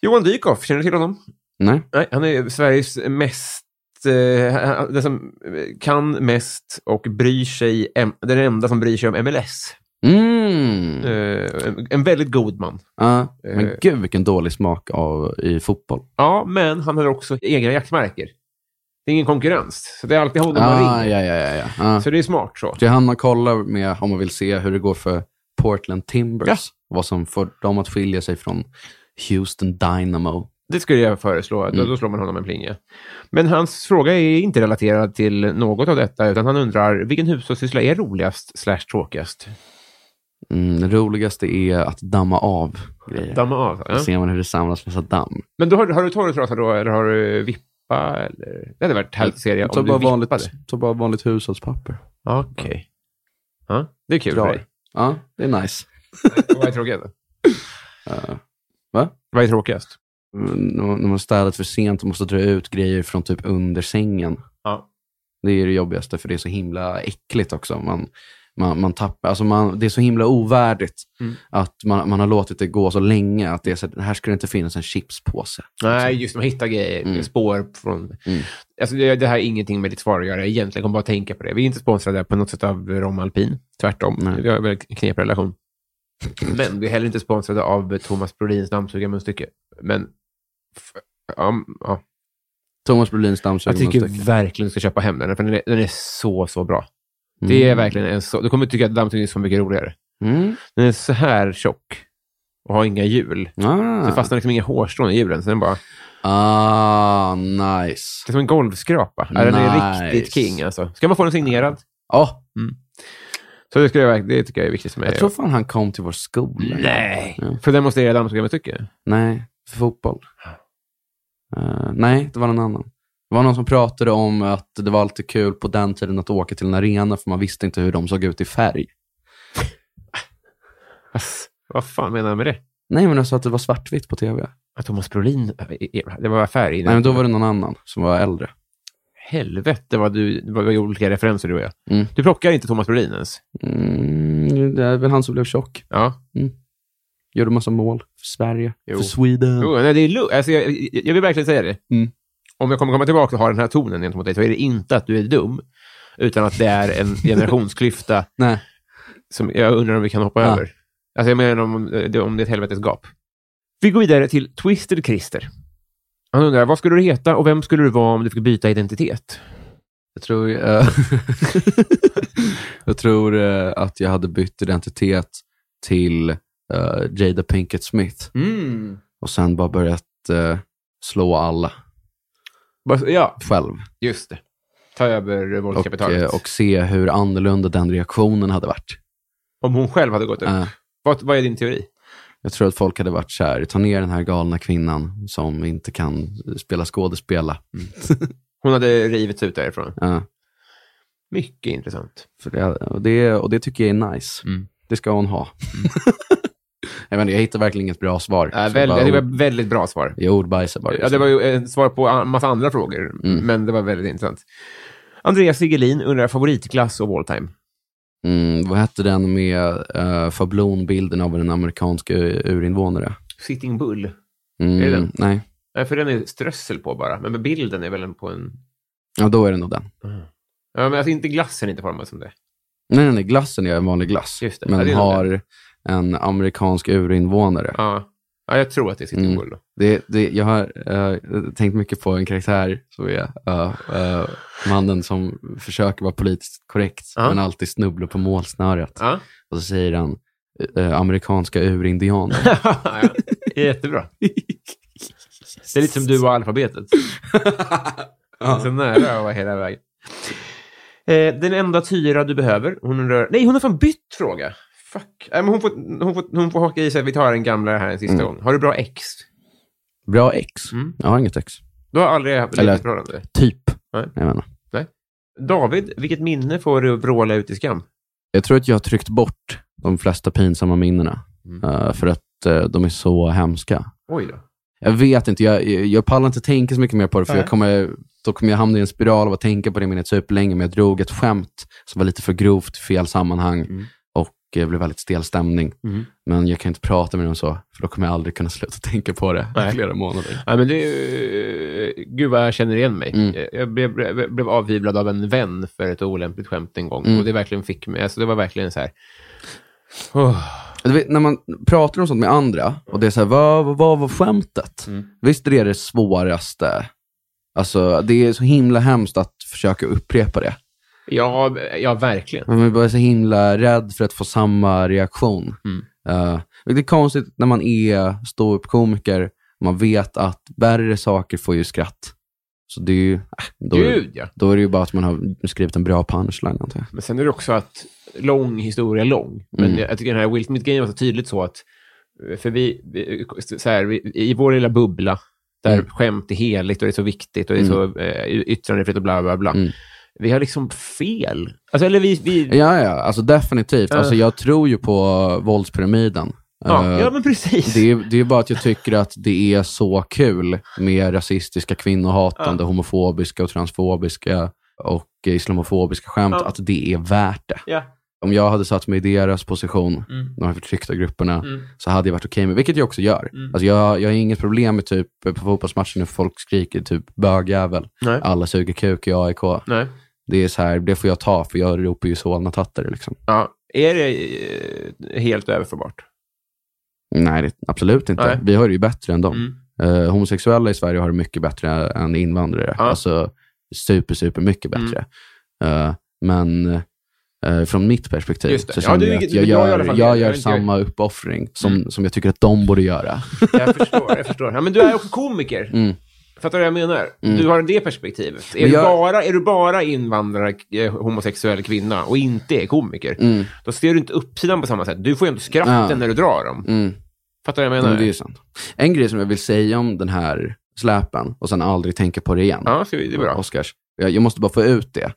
Speaker 1: Johan Dykhoff, känner du till honom?
Speaker 2: Nej.
Speaker 1: Nej, han är Sveriges mest, eh, han- den som eh, kan mest och bryr sig, em- den enda som bryr sig om MLS.
Speaker 2: Mm.
Speaker 1: Eh, en- en väldigt god man.
Speaker 2: Ja, men
Speaker 1: Eh.
Speaker 2: gud vilken dålig smak av, i fotboll.
Speaker 1: Ja, men han har också egna jaktmärker. Det är ingen konkurrens, så det är alltid honom man
Speaker 2: Ah,
Speaker 1: ringer.
Speaker 2: ja, ja, ja, ja. Ah.
Speaker 1: Så det är smart så.
Speaker 2: Det är han man kollar med om man vill se hur det går för Portland Timbers.
Speaker 1: Ja.
Speaker 2: Vad som får dem att skilja sig från Houston Dynamo.
Speaker 1: Det skulle jag föreslå.
Speaker 2: Mm.
Speaker 1: Då, då slår man honom en plinga. Men hans fråga är inte relaterad till något av detta, utan han undrar vilken hushållssyssla är roligast slash tråkigast?
Speaker 2: Mm, det roligaste är att damma av grejer.
Speaker 1: Damma av.
Speaker 2: Då
Speaker 1: Ja.
Speaker 2: ser man hur det samlas massa damm.
Speaker 1: Men då har, har du torr trasa då, eller har du vippa? Eller? Det hade varit härligt att se det om
Speaker 2: Ta
Speaker 1: du
Speaker 2: bara,
Speaker 1: vippade.
Speaker 2: vanligt, ta bara vanligt hushållspapper.
Speaker 1: Okej. Ja, det är kul
Speaker 2: Drar.
Speaker 1: för dig.
Speaker 2: Ja, det är nice.
Speaker 1: Vad är tråkigast?
Speaker 2: Eh,
Speaker 1: Vad är tråkigast? Mm.
Speaker 2: när man- när man städat för sent och måste dra ut grejer från typ under sängen.
Speaker 1: Ja.
Speaker 2: Det är det jobbigaste, för det är så himla äckligt också. Man, man, man tappar, alltså man, det är så himla ovärdigt
Speaker 1: Mm.
Speaker 2: att man, man har låtit det gå så länge. Att det är så, här, här ska det inte finnas en chipspåse.
Speaker 1: Nej, just de hittar grejer,
Speaker 2: Mm.
Speaker 1: spår från...
Speaker 2: Mm.
Speaker 1: Alltså, det, det här är ingenting med ditt svar att göra egentligen. Jag kommer bara tänka på det. Vi är inte sponsrade på något sätt av Rom Alpin. Tvärtom.
Speaker 2: Nej.
Speaker 1: Vi har en väldigt knepig relation. Men vi är heller inte sponsrade av Thomas Brolins dammsugarmunstycke. Men... f- Ja, ja.
Speaker 2: Thomas Brolins
Speaker 1: Jag tycker
Speaker 2: dammsugarmunstycke.
Speaker 1: verkligen du ska köpa hem den, för den är, den är så, så bra.
Speaker 2: Mm.
Speaker 1: Det är verkligen en så... Du kommer tycka att dammsugaren är så mycket roligare.
Speaker 2: Mm.
Speaker 1: Den är så här tjock och har inga hjul. Så det
Speaker 2: Ah.
Speaker 1: fastnar liksom inga hårstrån i hjulen, så den bara...
Speaker 2: ah, nice.
Speaker 1: Det är som en golvskrapa. Ja, Den är
Speaker 2: Nice.
Speaker 1: riktigt king alltså. Ska man få den signerad?
Speaker 2: Ja,
Speaker 1: Så det, ska jag, verk- det tycker jag är viktigt för mig.
Speaker 2: jag tror fan han kom till vår skola.
Speaker 1: Nej!
Speaker 2: Ja.
Speaker 1: För att demonstrera dammsugarmet tycker
Speaker 2: Nej, för fotboll. Eh, nej, det var någon annan. Det var någon som pratade om att det var alltid kul på den tiden att åka till en arena för man visste inte hur de såg ut i färg.
Speaker 1: Ass, vad fan menar han med det?
Speaker 2: Nej, men jag sa att det var svartvitt på tv.
Speaker 1: Att Thomas Brolin, det var färg
Speaker 2: Nej, men då var det någon annan som var äldre.
Speaker 1: Helvete vad du, vad vi gjorde olika referenser du och jag.
Speaker 2: Mm.
Speaker 1: Du plockar inte Thomas Brolin ens?
Speaker 2: Mm, det är väl han som blev tjock.
Speaker 1: Ja.
Speaker 2: Gjorde massa mål för Sverige,
Speaker 1: Jo.
Speaker 2: för Sweden.
Speaker 1: Jo, nej, det är lu- alltså, jag, jag- jag vill verkligen säga det.
Speaker 2: Mm.
Speaker 1: Om jag kommer komma tillbaka och ha den här tonen gentemot dig så är det inte att du är dum, utan att det är en generationsklyfta
Speaker 2: Nej.
Speaker 1: som jag undrar om vi kan hoppa
Speaker 2: Ja.
Speaker 1: över. Alltså jag menar om eh, det, om det är ett helvetes gap. Vi går vidare till Twisted Christer. Han undrar, vad skulle du heta och vem skulle du vara om du fick byta identitet?
Speaker 2: Jag tror, eh, jag tror eh, att jag hade bytt identitet till eh, Jada Pinkett Smith. och sen bara börjat eh, slå alla
Speaker 1: Bara så- Ja,
Speaker 2: själv.
Speaker 1: just det. Ta över eh,
Speaker 2: Och,
Speaker 1: våldskapitalet.
Speaker 2: eh, och se hur annorlunda den reaktionen hade varit.
Speaker 1: Om hon själv hade gått upp.
Speaker 2: Eh,
Speaker 1: Vad, vad är din teori?
Speaker 2: jag tror att folk hade varit så här, ta ner den här galna kvinnan som inte kan eh, spela skådespela.
Speaker 1: Hon hade rivits ut därifrån.
Speaker 2: Eh,
Speaker 1: Mycket intressant.
Speaker 2: för det, och, det, och det tycker jag är nice.
Speaker 1: Mm.
Speaker 2: Det ska hon ha. jag, menar, jag hittar verkligen inget bra svar.
Speaker 1: Äh,
Speaker 2: Så
Speaker 1: väl,
Speaker 2: bara, oh,
Speaker 1: det var ett väldigt bra svar.
Speaker 2: jag ordbajsar bara.
Speaker 1: Ja, det var ju ett svar på en massa andra frågor,
Speaker 2: Mm.
Speaker 1: men det var väldigt intressant. Andreas Sigelin undrar favoritklass of all time.
Speaker 2: mm, vad hette den med uh, schablonbilden av en amerikansk u- urinvånare?
Speaker 1: Sitting Bull.
Speaker 2: Mm,
Speaker 1: Är det den?
Speaker 2: Nej,
Speaker 1: Nej, för den är strössel på bara. Men bilden är väl en på en...
Speaker 2: ja, då är det nog den.
Speaker 1: Ja, men alltså inte glassen är inte formad som det.
Speaker 2: Nej, nej, nej, glassen är en vanlig glass.
Speaker 1: Just det. Ja,
Speaker 2: Men
Speaker 1: det är nog
Speaker 2: har en amerikansk urinvånare.
Speaker 1: Ja, ja jag tror att det är Sitting
Speaker 2: Mm.
Speaker 1: Bull. Då.
Speaker 2: Det, det, jag har eh, tänkt mycket på en karaktär som är eh, eh, mannen som försöker vara politiskt korrekt,
Speaker 1: Ja.
Speaker 2: men alltid snubblar på målsnöret.
Speaker 1: Ja.
Speaker 2: Och så säger han eh, amerikanska urindianer.
Speaker 1: ja, jättebra. Det är lite som du och alfabetet. Så nära att vara hela vägen. Eh, den enda Tyra du behöver. Hon undrar... Nej, hon har fan bytt fråga. Fuck. Nej, men hon, får, hon, får, hon får haka i sig. Vi tar den gamla här en sista
Speaker 2: Mm.
Speaker 1: gång. Har du bra ex?
Speaker 2: Bra ex.
Speaker 1: Mm.
Speaker 2: Jag har inget ex.
Speaker 1: Du har aldrig haft
Speaker 2: Eller-
Speaker 1: ett förhållande?
Speaker 2: Typ.
Speaker 1: Nej.
Speaker 2: Jag, menar.
Speaker 1: David, vilket minne får du vråla ut i skam?
Speaker 2: jag tror att jag har tryckt bort de flesta pinsamma minnena,
Speaker 1: Mm.
Speaker 2: eh, för att eh, de är så hemska.
Speaker 1: Oj då.
Speaker 2: Jag vet inte, jag, jag, jag pallar inte tänka så mycket mer på det, för
Speaker 1: Nej.
Speaker 2: jag kommer, då kommer jag hamna i en spiral av att tänka på det minnet superlänge, men jag drog ett skämt som var lite för grovt, fel sammanhang
Speaker 1: Mm.
Speaker 2: och det blev väldigt stel stämning.
Speaker 1: Mm.
Speaker 2: Men jag kan inte prata med dem så, för då kommer jag aldrig kunna sluta tänka på det
Speaker 1: Nej. Mm.
Speaker 2: i flera månader.
Speaker 1: Ja, men det är ju... Gud vad jag känner igen mig.
Speaker 2: Mm.
Speaker 1: Jag- Jag blev, blev- blev avhyvlad av en vän för ett olämpligt skämt en gång.
Speaker 2: Mm.
Speaker 1: Och det verkligen fick mig... Alltså, det var verkligen så här... Oh.
Speaker 2: Du vet, när man pratar om sånt med andra, och det är så här, vad, vad, vad var skämtet?
Speaker 1: Mm.
Speaker 2: Visst är det det svåraste? Alltså, det är så himla hemskt att försöka upprepa det.
Speaker 1: Ja, ja, verkligen.
Speaker 2: Men man blir så himla rädd för att få samma reaktion.
Speaker 1: Mm.
Speaker 2: Eh, vilket är konstigt när man är ståuppkomiker. Man vet att värre saker får ju skratt. Så det är ju, äh, då,
Speaker 1: Gud, ja.
Speaker 2: då är det ju bara att man har skrivit en bra punchline, antar jag.
Speaker 1: Men sen är det också att lång historia lång. Men
Speaker 2: Mm.
Speaker 1: jag, jag tycker den här Will Smith-grejen var så tydligt så att... eh, För vi, vi, så här, vi i vår lilla bubbla, där
Speaker 2: Mm.
Speaker 1: skämt är heligt och det är så viktigt och det är så eh, yttrandefrihet och bla, bla, bla.
Speaker 2: Mm.
Speaker 1: vi har liksom fel. Alltså, eller vi... vi
Speaker 2: Ja, ja, alltså definitivt. Alltså,
Speaker 1: Eh.
Speaker 2: jag tror ju på våldspyramiden.
Speaker 1: ja,
Speaker 2: Eh,
Speaker 1: ja, men precis.
Speaker 2: Det är, det är bara att jag tycker att det är så kul med rasistiska, kvinnohatande, homofobiska och transfobiska och islamofobiska skämt,
Speaker 1: Ja.
Speaker 2: att det är värt det.
Speaker 1: Ja.
Speaker 2: Om jag hade satt mig i deras position,
Speaker 1: Mm.
Speaker 2: de här förtryckta grupperna, så hade jag varit okej med, vilket jag också gör.
Speaker 1: Mm.
Speaker 2: Alltså jag, jag har inget problem med typ på fotbollsmatchen när folk skriker typ bögjävel,
Speaker 1: Nej.
Speaker 2: alla suger kuk i AIK.
Speaker 1: Nej.
Speaker 2: Det är så här, det får jag ta, för jag ropar ju Solna-tattare liksom.
Speaker 1: Ja. Är det eh, helt överförbart?
Speaker 2: Nej, det, absolut inte.
Speaker 1: Nej.
Speaker 2: Vi har det ju bättre än dem.
Speaker 1: Mm.
Speaker 2: Eh, homosexuella i Sverige har det mycket bättre än invandrare.
Speaker 1: Ja. Mm.
Speaker 2: Alltså super, super mycket bättre. Eh, men eh, från mitt perspektiv
Speaker 1: Just det.
Speaker 2: så
Speaker 1: Ja,
Speaker 2: känner
Speaker 1: det är
Speaker 2: jag att
Speaker 1: vilket-
Speaker 2: jag
Speaker 1: jag i alla
Speaker 2: gör,
Speaker 1: fall-
Speaker 2: jag
Speaker 1: jag
Speaker 2: gör
Speaker 1: är Mm. inte-
Speaker 2: samma uppoffring som, som jag tycker att de borde göra.
Speaker 1: Jag förstår. jag förstår. Ja, men du är också komiker.
Speaker 2: Mm.
Speaker 1: Fattar du vad jag menar? Du har det perspektivet. Är,
Speaker 2: Men jag-
Speaker 1: du bara, är du bara invandrare, eh, homosexuell kvinna och inte är komiker, då ser du inte uppsidan på samma sätt. Du får ju ändå skratten
Speaker 2: Mm. Ja.
Speaker 1: när du drar dem.
Speaker 2: Mm.
Speaker 1: Fattar du vad jag
Speaker 2: Men
Speaker 1: menar?
Speaker 2: det är ju sant. En grej som jag vill säga om den här släpen och sen aldrig tänka på det igen.
Speaker 1: Ja, så det är bra.
Speaker 2: Oscars. Jag, jag måste bara få ut det.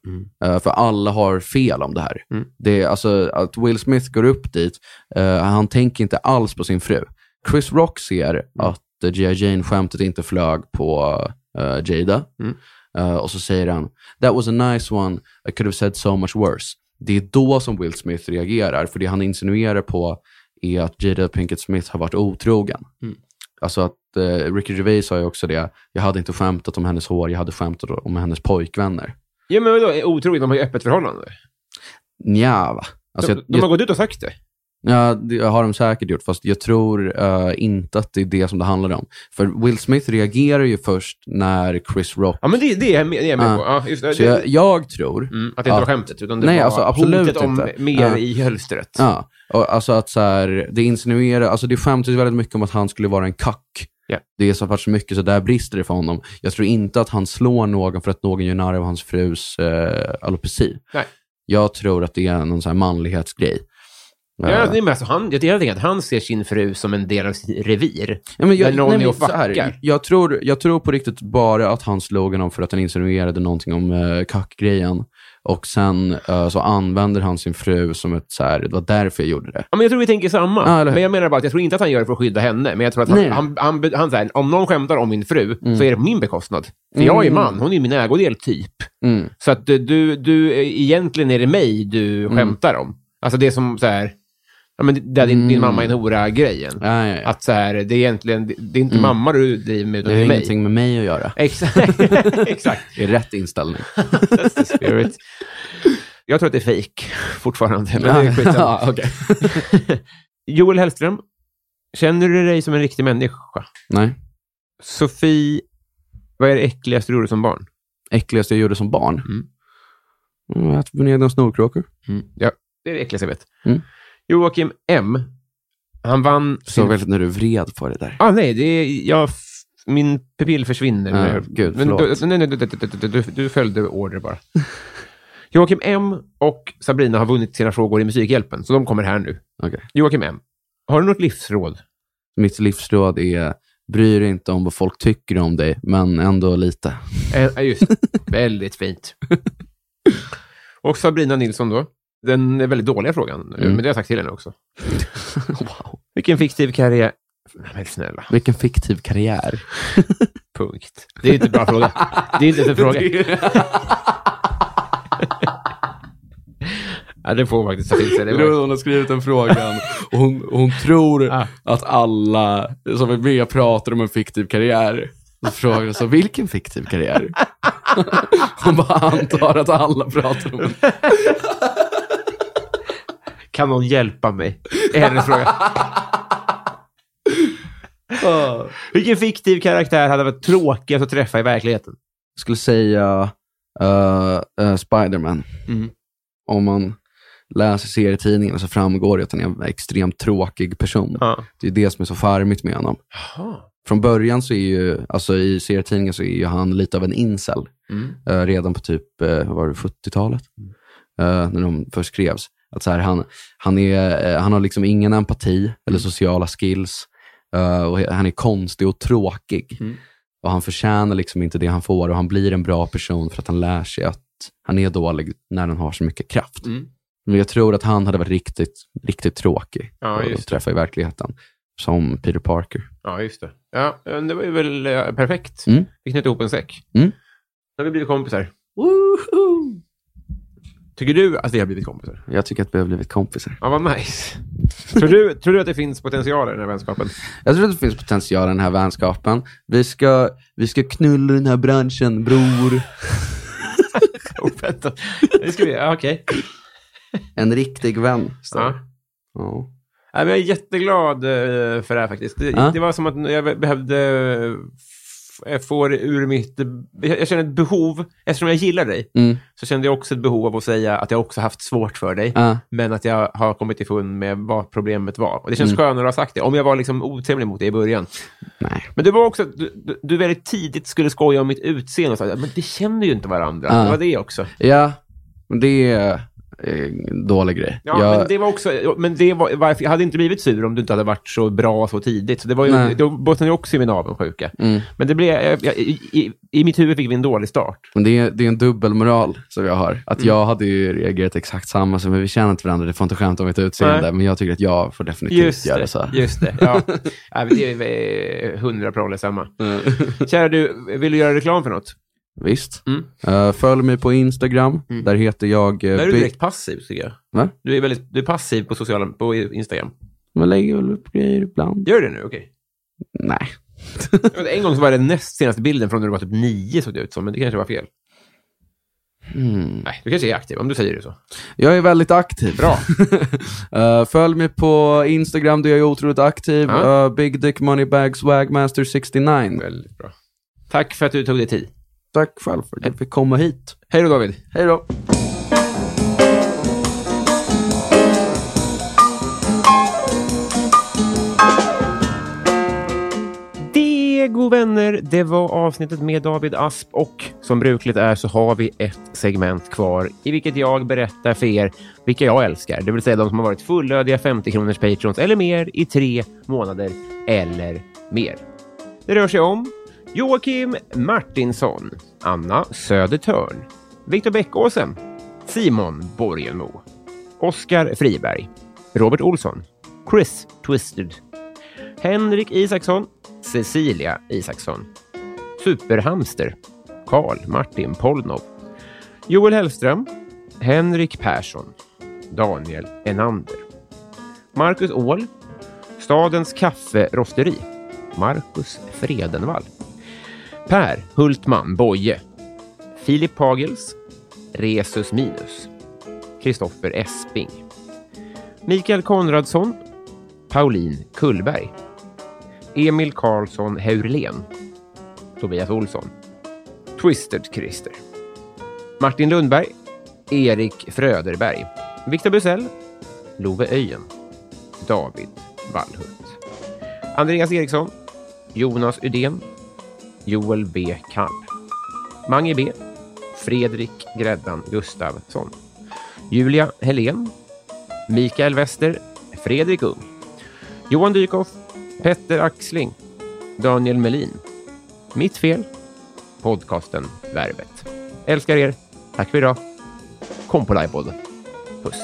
Speaker 2: Eh, för alla har fel om det här.
Speaker 1: Mm.
Speaker 2: Det är alltså att Will Smith går upp dit, eh, han tänker inte alls på sin fru. Chris Rock ser
Speaker 1: Mm.
Speaker 2: att eh, G.I. Jane-skämtet inte flög på eh, Jada.
Speaker 1: Mm.
Speaker 2: Eh, och så säger han, that was a nice one, I could have said so much worse. Det är då som Will Smith reagerar, för det han insinuerar på är att Jada Pinkett Smith har varit otrogen. Alltså att eh, Ricky Gervais sa ju också det, jag hade inte skämtat om hennes hår, jag hade skämtat om hennes pojkvänner.
Speaker 1: Ja, men vadå? Är Otroligt, de har ju öppet förhållande.
Speaker 2: Nja, va? Alltså,
Speaker 1: De,
Speaker 2: jag,
Speaker 1: de har
Speaker 2: jag,
Speaker 1: gått ut och sagt det.
Speaker 2: ja, det har de säkert gjort, fast jag tror eh, inte att det är det som det handlar om. För Will Smith reagerar ju först när Chris Rock...
Speaker 1: Ja, men det, det är jag med, det är jag med
Speaker 2: Ja.
Speaker 1: på. Ja, just, det.
Speaker 2: Så jag, jag tror...
Speaker 1: mm, att det inte
Speaker 2: Ja.
Speaker 1: var skämtet, utan det
Speaker 2: Nej,
Speaker 1: var
Speaker 2: alltså, absolut
Speaker 1: hotet om
Speaker 2: inte.
Speaker 1: mer
Speaker 2: Ja.
Speaker 1: i hölstret.
Speaker 2: Ja, och alltså att så här, det insinuerar, alltså det skämtas väldigt mycket om att han skulle vara en kack.
Speaker 1: Ja.
Speaker 2: Det är så pass mycket så där brister det för honom. Jag tror inte att han slår någon för att någon gör narr av hans frus eh, alopeci.
Speaker 1: Nej.
Speaker 2: Jag tror att det är någon så här manlighetsgrej.
Speaker 1: Ja, alltså, nej, men alltså, han, jag tänker att han ser sin fru som en del av sitt revir.
Speaker 2: Ja, men jag,
Speaker 1: När någon
Speaker 2: nej,
Speaker 1: är
Speaker 2: men
Speaker 1: och
Speaker 2: så här,
Speaker 1: fuckar.
Speaker 2: jag, tror, jag tror på riktigt bara att han slog honom för att han insinuerade någonting om eh, kackgrejen. Och sen eh, så använder han sin fru som ett så här, det var därför jag gjorde det.
Speaker 1: Ja, men jag tror vi tänker samma.
Speaker 2: Ja, eller hur?
Speaker 1: men jag menar bara att jag tror inte att han gör det för att skydda henne. Men jag tror att
Speaker 2: Nej. Mm.
Speaker 1: han, han, han, han så här, om någon skämtar om min fru så är det på min bekostnad. För jag är ju man, hon är min ägodel typ.
Speaker 2: Mm.
Speaker 1: Så att eh, du, du, eh, egentligen är det mig du
Speaker 2: Mm.
Speaker 1: skämtar om. Alltså det är som så här, ja men det där din, din mamma är en hora-grejen.
Speaker 2: Mm. Ja, ja, ja.
Speaker 1: Att så här, det är egentligen, det, det är inte mamma du driver med utan
Speaker 2: Mm. det har
Speaker 1: mig.
Speaker 2: ingenting med mig att göra.
Speaker 1: Exakt. Exakt.
Speaker 2: Det är rätt inställning.
Speaker 1: That's the spirit. Jag tror att det är fejk fortfarande, men det är skitsamma.
Speaker 2: ja, okej.
Speaker 1: Joel Hellström, känner du dig som en riktig människa?
Speaker 2: Nej.
Speaker 1: Sofie, vad är det äckligaste du gjorde som barn?
Speaker 2: Äckligaste jag gjorde som barn?
Speaker 1: Mm.
Speaker 2: Mm. Jag har ätit mina egna snorkråkor.
Speaker 1: Ja, det är det äckligaste jag vet.
Speaker 2: Mm.
Speaker 1: Joakim M. Han vann...
Speaker 2: Så väldigt när du vred på det där.
Speaker 1: Ah, nej, det är... Jag, f- min pupill försvinner.
Speaker 2: Ah,
Speaker 1: Jag-
Speaker 2: gud,
Speaker 1: men,
Speaker 2: förlåt.
Speaker 1: du, nej, nej, du, du, du, du följde order bara. Joakim M och Sabrina har vunnit sina frågor i Musikhjälpen, så de kommer här nu.
Speaker 2: Okej.
Speaker 1: Joakim M. Har du något livsråd?
Speaker 2: Mitt livsråd är, bry dig inte om vad folk tycker om dig, men ändå lite.
Speaker 1: Eh, just det. Väldigt fint. Och Sabrina Nilsson då. Den är väldigt dåliga frågan, men det har jag sagt till henne också.
Speaker 2: Mm. Wow.
Speaker 1: Vilken fiktiv karriär... Nej, men snälla.
Speaker 2: Vilken fiktiv karriär.
Speaker 1: Punkt. Det är inte en bra fråga. Det är inte ens en fråga. ja, det får man faktiskt ta till sig. Det var...
Speaker 2: hon har skrivit den frågan och hon, hon tror
Speaker 1: Ah.
Speaker 2: att alla som är med pratar om en fiktiv karriär. Och frågar så vilken fiktiv karriär? Hon bara antar att alla pratar om en
Speaker 1: Kan någon hjälpa mig? Är hennes fråga. Vilken fiktiv karaktär hade varit tråkigast att träffa i verkligheten?
Speaker 2: skulle säga eh, eh, Spiderman.
Speaker 1: Mm.
Speaker 2: Om man läser serietidningen så framgår det att han är en extremt tråkig person.
Speaker 1: Ja.
Speaker 2: Det är det som är så charmigt med honom. Från början så är ju, alltså i serietidningen så är ju han lite av en incel.
Speaker 1: Mm.
Speaker 2: Eh, redan på typ, eh, vad var det, 70-talet? Eh, när de först skrevs. Att så här, han, han, är, eh, han har liksom ingen empati eller sociala skills. Eh, och han är konstig och Mm. tråkig. Och han förtjänar liksom inte det han får och han blir en bra person för att han lär sig att han är dålig när han har så mycket kraft.
Speaker 1: Mm.
Speaker 2: Men jag tror att han hade varit riktigt, riktigt tråkig
Speaker 1: Ja,
Speaker 2: att
Speaker 1: just det.
Speaker 2: träffa i verkligheten. Som Peter Parker.
Speaker 1: Ja, just det. Ja, eh, det var ju väl eh, perfekt.
Speaker 2: Mm.
Speaker 1: Vi knöt ihop en säck.
Speaker 2: Mm.
Speaker 1: Nu har vi blivit kompisar. Tycker du att vi har blivit kompisar?
Speaker 2: Jag tycker att vi har blivit kompisar.
Speaker 1: Ja, vad nice. tror, du, tror du att det finns potential i den här vänskapen?
Speaker 2: Jag tror att det finns potential i den här vänskapen. Vi ska, vi ska knulla den här branschen, bror.
Speaker 1: Oväntat. Oh, Det ska vi ja, Okej.
Speaker 2: En riktig vän. står det.
Speaker 1: Ja.
Speaker 2: Ja.
Speaker 1: Ja, men Jag är jätteglad eh, för det här faktiskt. Det,
Speaker 2: Ja.
Speaker 1: det var som att jag behövde eh, f- eh, få det ur mitt... Jag, jag känner ett behov. Eftersom jag gillar dig
Speaker 2: Mm.
Speaker 1: så kände jag också ett behov av att säga att jag också haft svårt för dig.
Speaker 2: Ja.
Speaker 1: Men att jag har kommit ifrån med vad problemet var. Och det
Speaker 2: Mm.
Speaker 1: känns skönare att ha sagt det. Om jag var liksom otrevlig mot dig i början.
Speaker 2: Nej.
Speaker 1: Men det var också att du, du, du väldigt tidigt skulle skoja om mitt utseende. Och så, här, men vi känner ju inte varandra.
Speaker 2: Ja.
Speaker 1: Det var det också.
Speaker 2: Ja, men det är eh, en dålig grej.
Speaker 1: Ja,
Speaker 2: jag,
Speaker 1: men det var också... Men det var, varför, jag hade inte blivit sur om du inte hade varit så bra så tidigt. Så det var ju,
Speaker 2: Nej.
Speaker 1: då bottnade ju också i min avundsjuka.
Speaker 2: Mm.
Speaker 1: Men det blev... Jag, jag, i, i, I mitt huvud fick vi en dålig start.
Speaker 2: men det, är, det är en dubbelmoral som jag har.
Speaker 1: Mm.
Speaker 2: Att jag hade ju reagerat exakt samma som vi känner inte varandra, det får inte skämta om mitt utseende.
Speaker 1: Nej.
Speaker 2: Men jag tycker att jag får definitivt göra
Speaker 1: det.
Speaker 2: så här.
Speaker 1: Just det. Ja. Nej, men det är eh, hundra prolle samma.
Speaker 2: Mm.
Speaker 1: Kära du, vill du göra reklam för något?
Speaker 2: Visst.
Speaker 1: Mm.
Speaker 2: Eh, följ mig på Instagram. Där heter jag... Uh,
Speaker 1: Där är du direkt passiv, tycker jag.
Speaker 2: Va?
Speaker 1: Du är väldigt du är passiv på, sociala, på Instagram.
Speaker 2: Man lägger väl upp grejer ibland.
Speaker 1: Gör du det nu? Okej.
Speaker 2: Nej.
Speaker 1: Jag vet, En gång så var det näst senaste bilden från när du var typ nio, såg det ut som. Men det kanske var fel.
Speaker 2: Mm.
Speaker 1: Nej, du kanske är aktiv, om du säger det så.
Speaker 2: Jag är väldigt aktiv.
Speaker 1: Bra.
Speaker 2: Eh, följ mig på Instagram, där jag är otroligt aktiv.
Speaker 1: Ja.
Speaker 2: Eh, Big Dick Moneybag Swagmaster 69.
Speaker 1: väldigt bra. Tack för att du tog dig tid.
Speaker 2: Tack själv för att jag fick komma hit.
Speaker 1: Hej då, David.
Speaker 2: Hej då.
Speaker 1: Det, god vänner, det var avsnittet med David Asp och som brukligt är så har vi ett segment kvar i vilket jag berättar för er vilka jag älskar, det vill säga de som har varit fullödiga 50 kronors patrons eller mer i tre månader eller mer. Det rör sig om Joakim Martinsson, Anna Södertörn, Viktor Bäckåsen, Simon Borgenmo, Oskar Friberg, Robert Olsson, Chris Twisted, Henrik Isaksson, Cecilia Isaksson, Superhamster, Karl Martin Polnov, Joel Hellström, Henrik Persson, Daniel Enander, Marcus Åhl, Stadens kafferosteri, Marcus Fredenvall, Per Hultman Boye, Filip Pagels, Resus Minus, Kristoffer Esping, Mikael Konradsson, Pauline Kullberg, Emil Karlsson Heurlen. Tobias Olsson. Twisted Christer. Martin Lundberg. Erik Fröderberg. Viktor Busell. Love Öjen. David Wallhult. Andreas Eriksson. Jonas Uden. Joel B. Kamp. Mange B. Fredrik Gräddan Gustavsson. Julia Helén. Mikael Wester. Fredrik Ung. Johan Dykhoff, Petter Axling, Daniel Melin. Mitt fel, podcasten Värvet. Älskar er. Tack för idag. Kom på livepodden. Puss.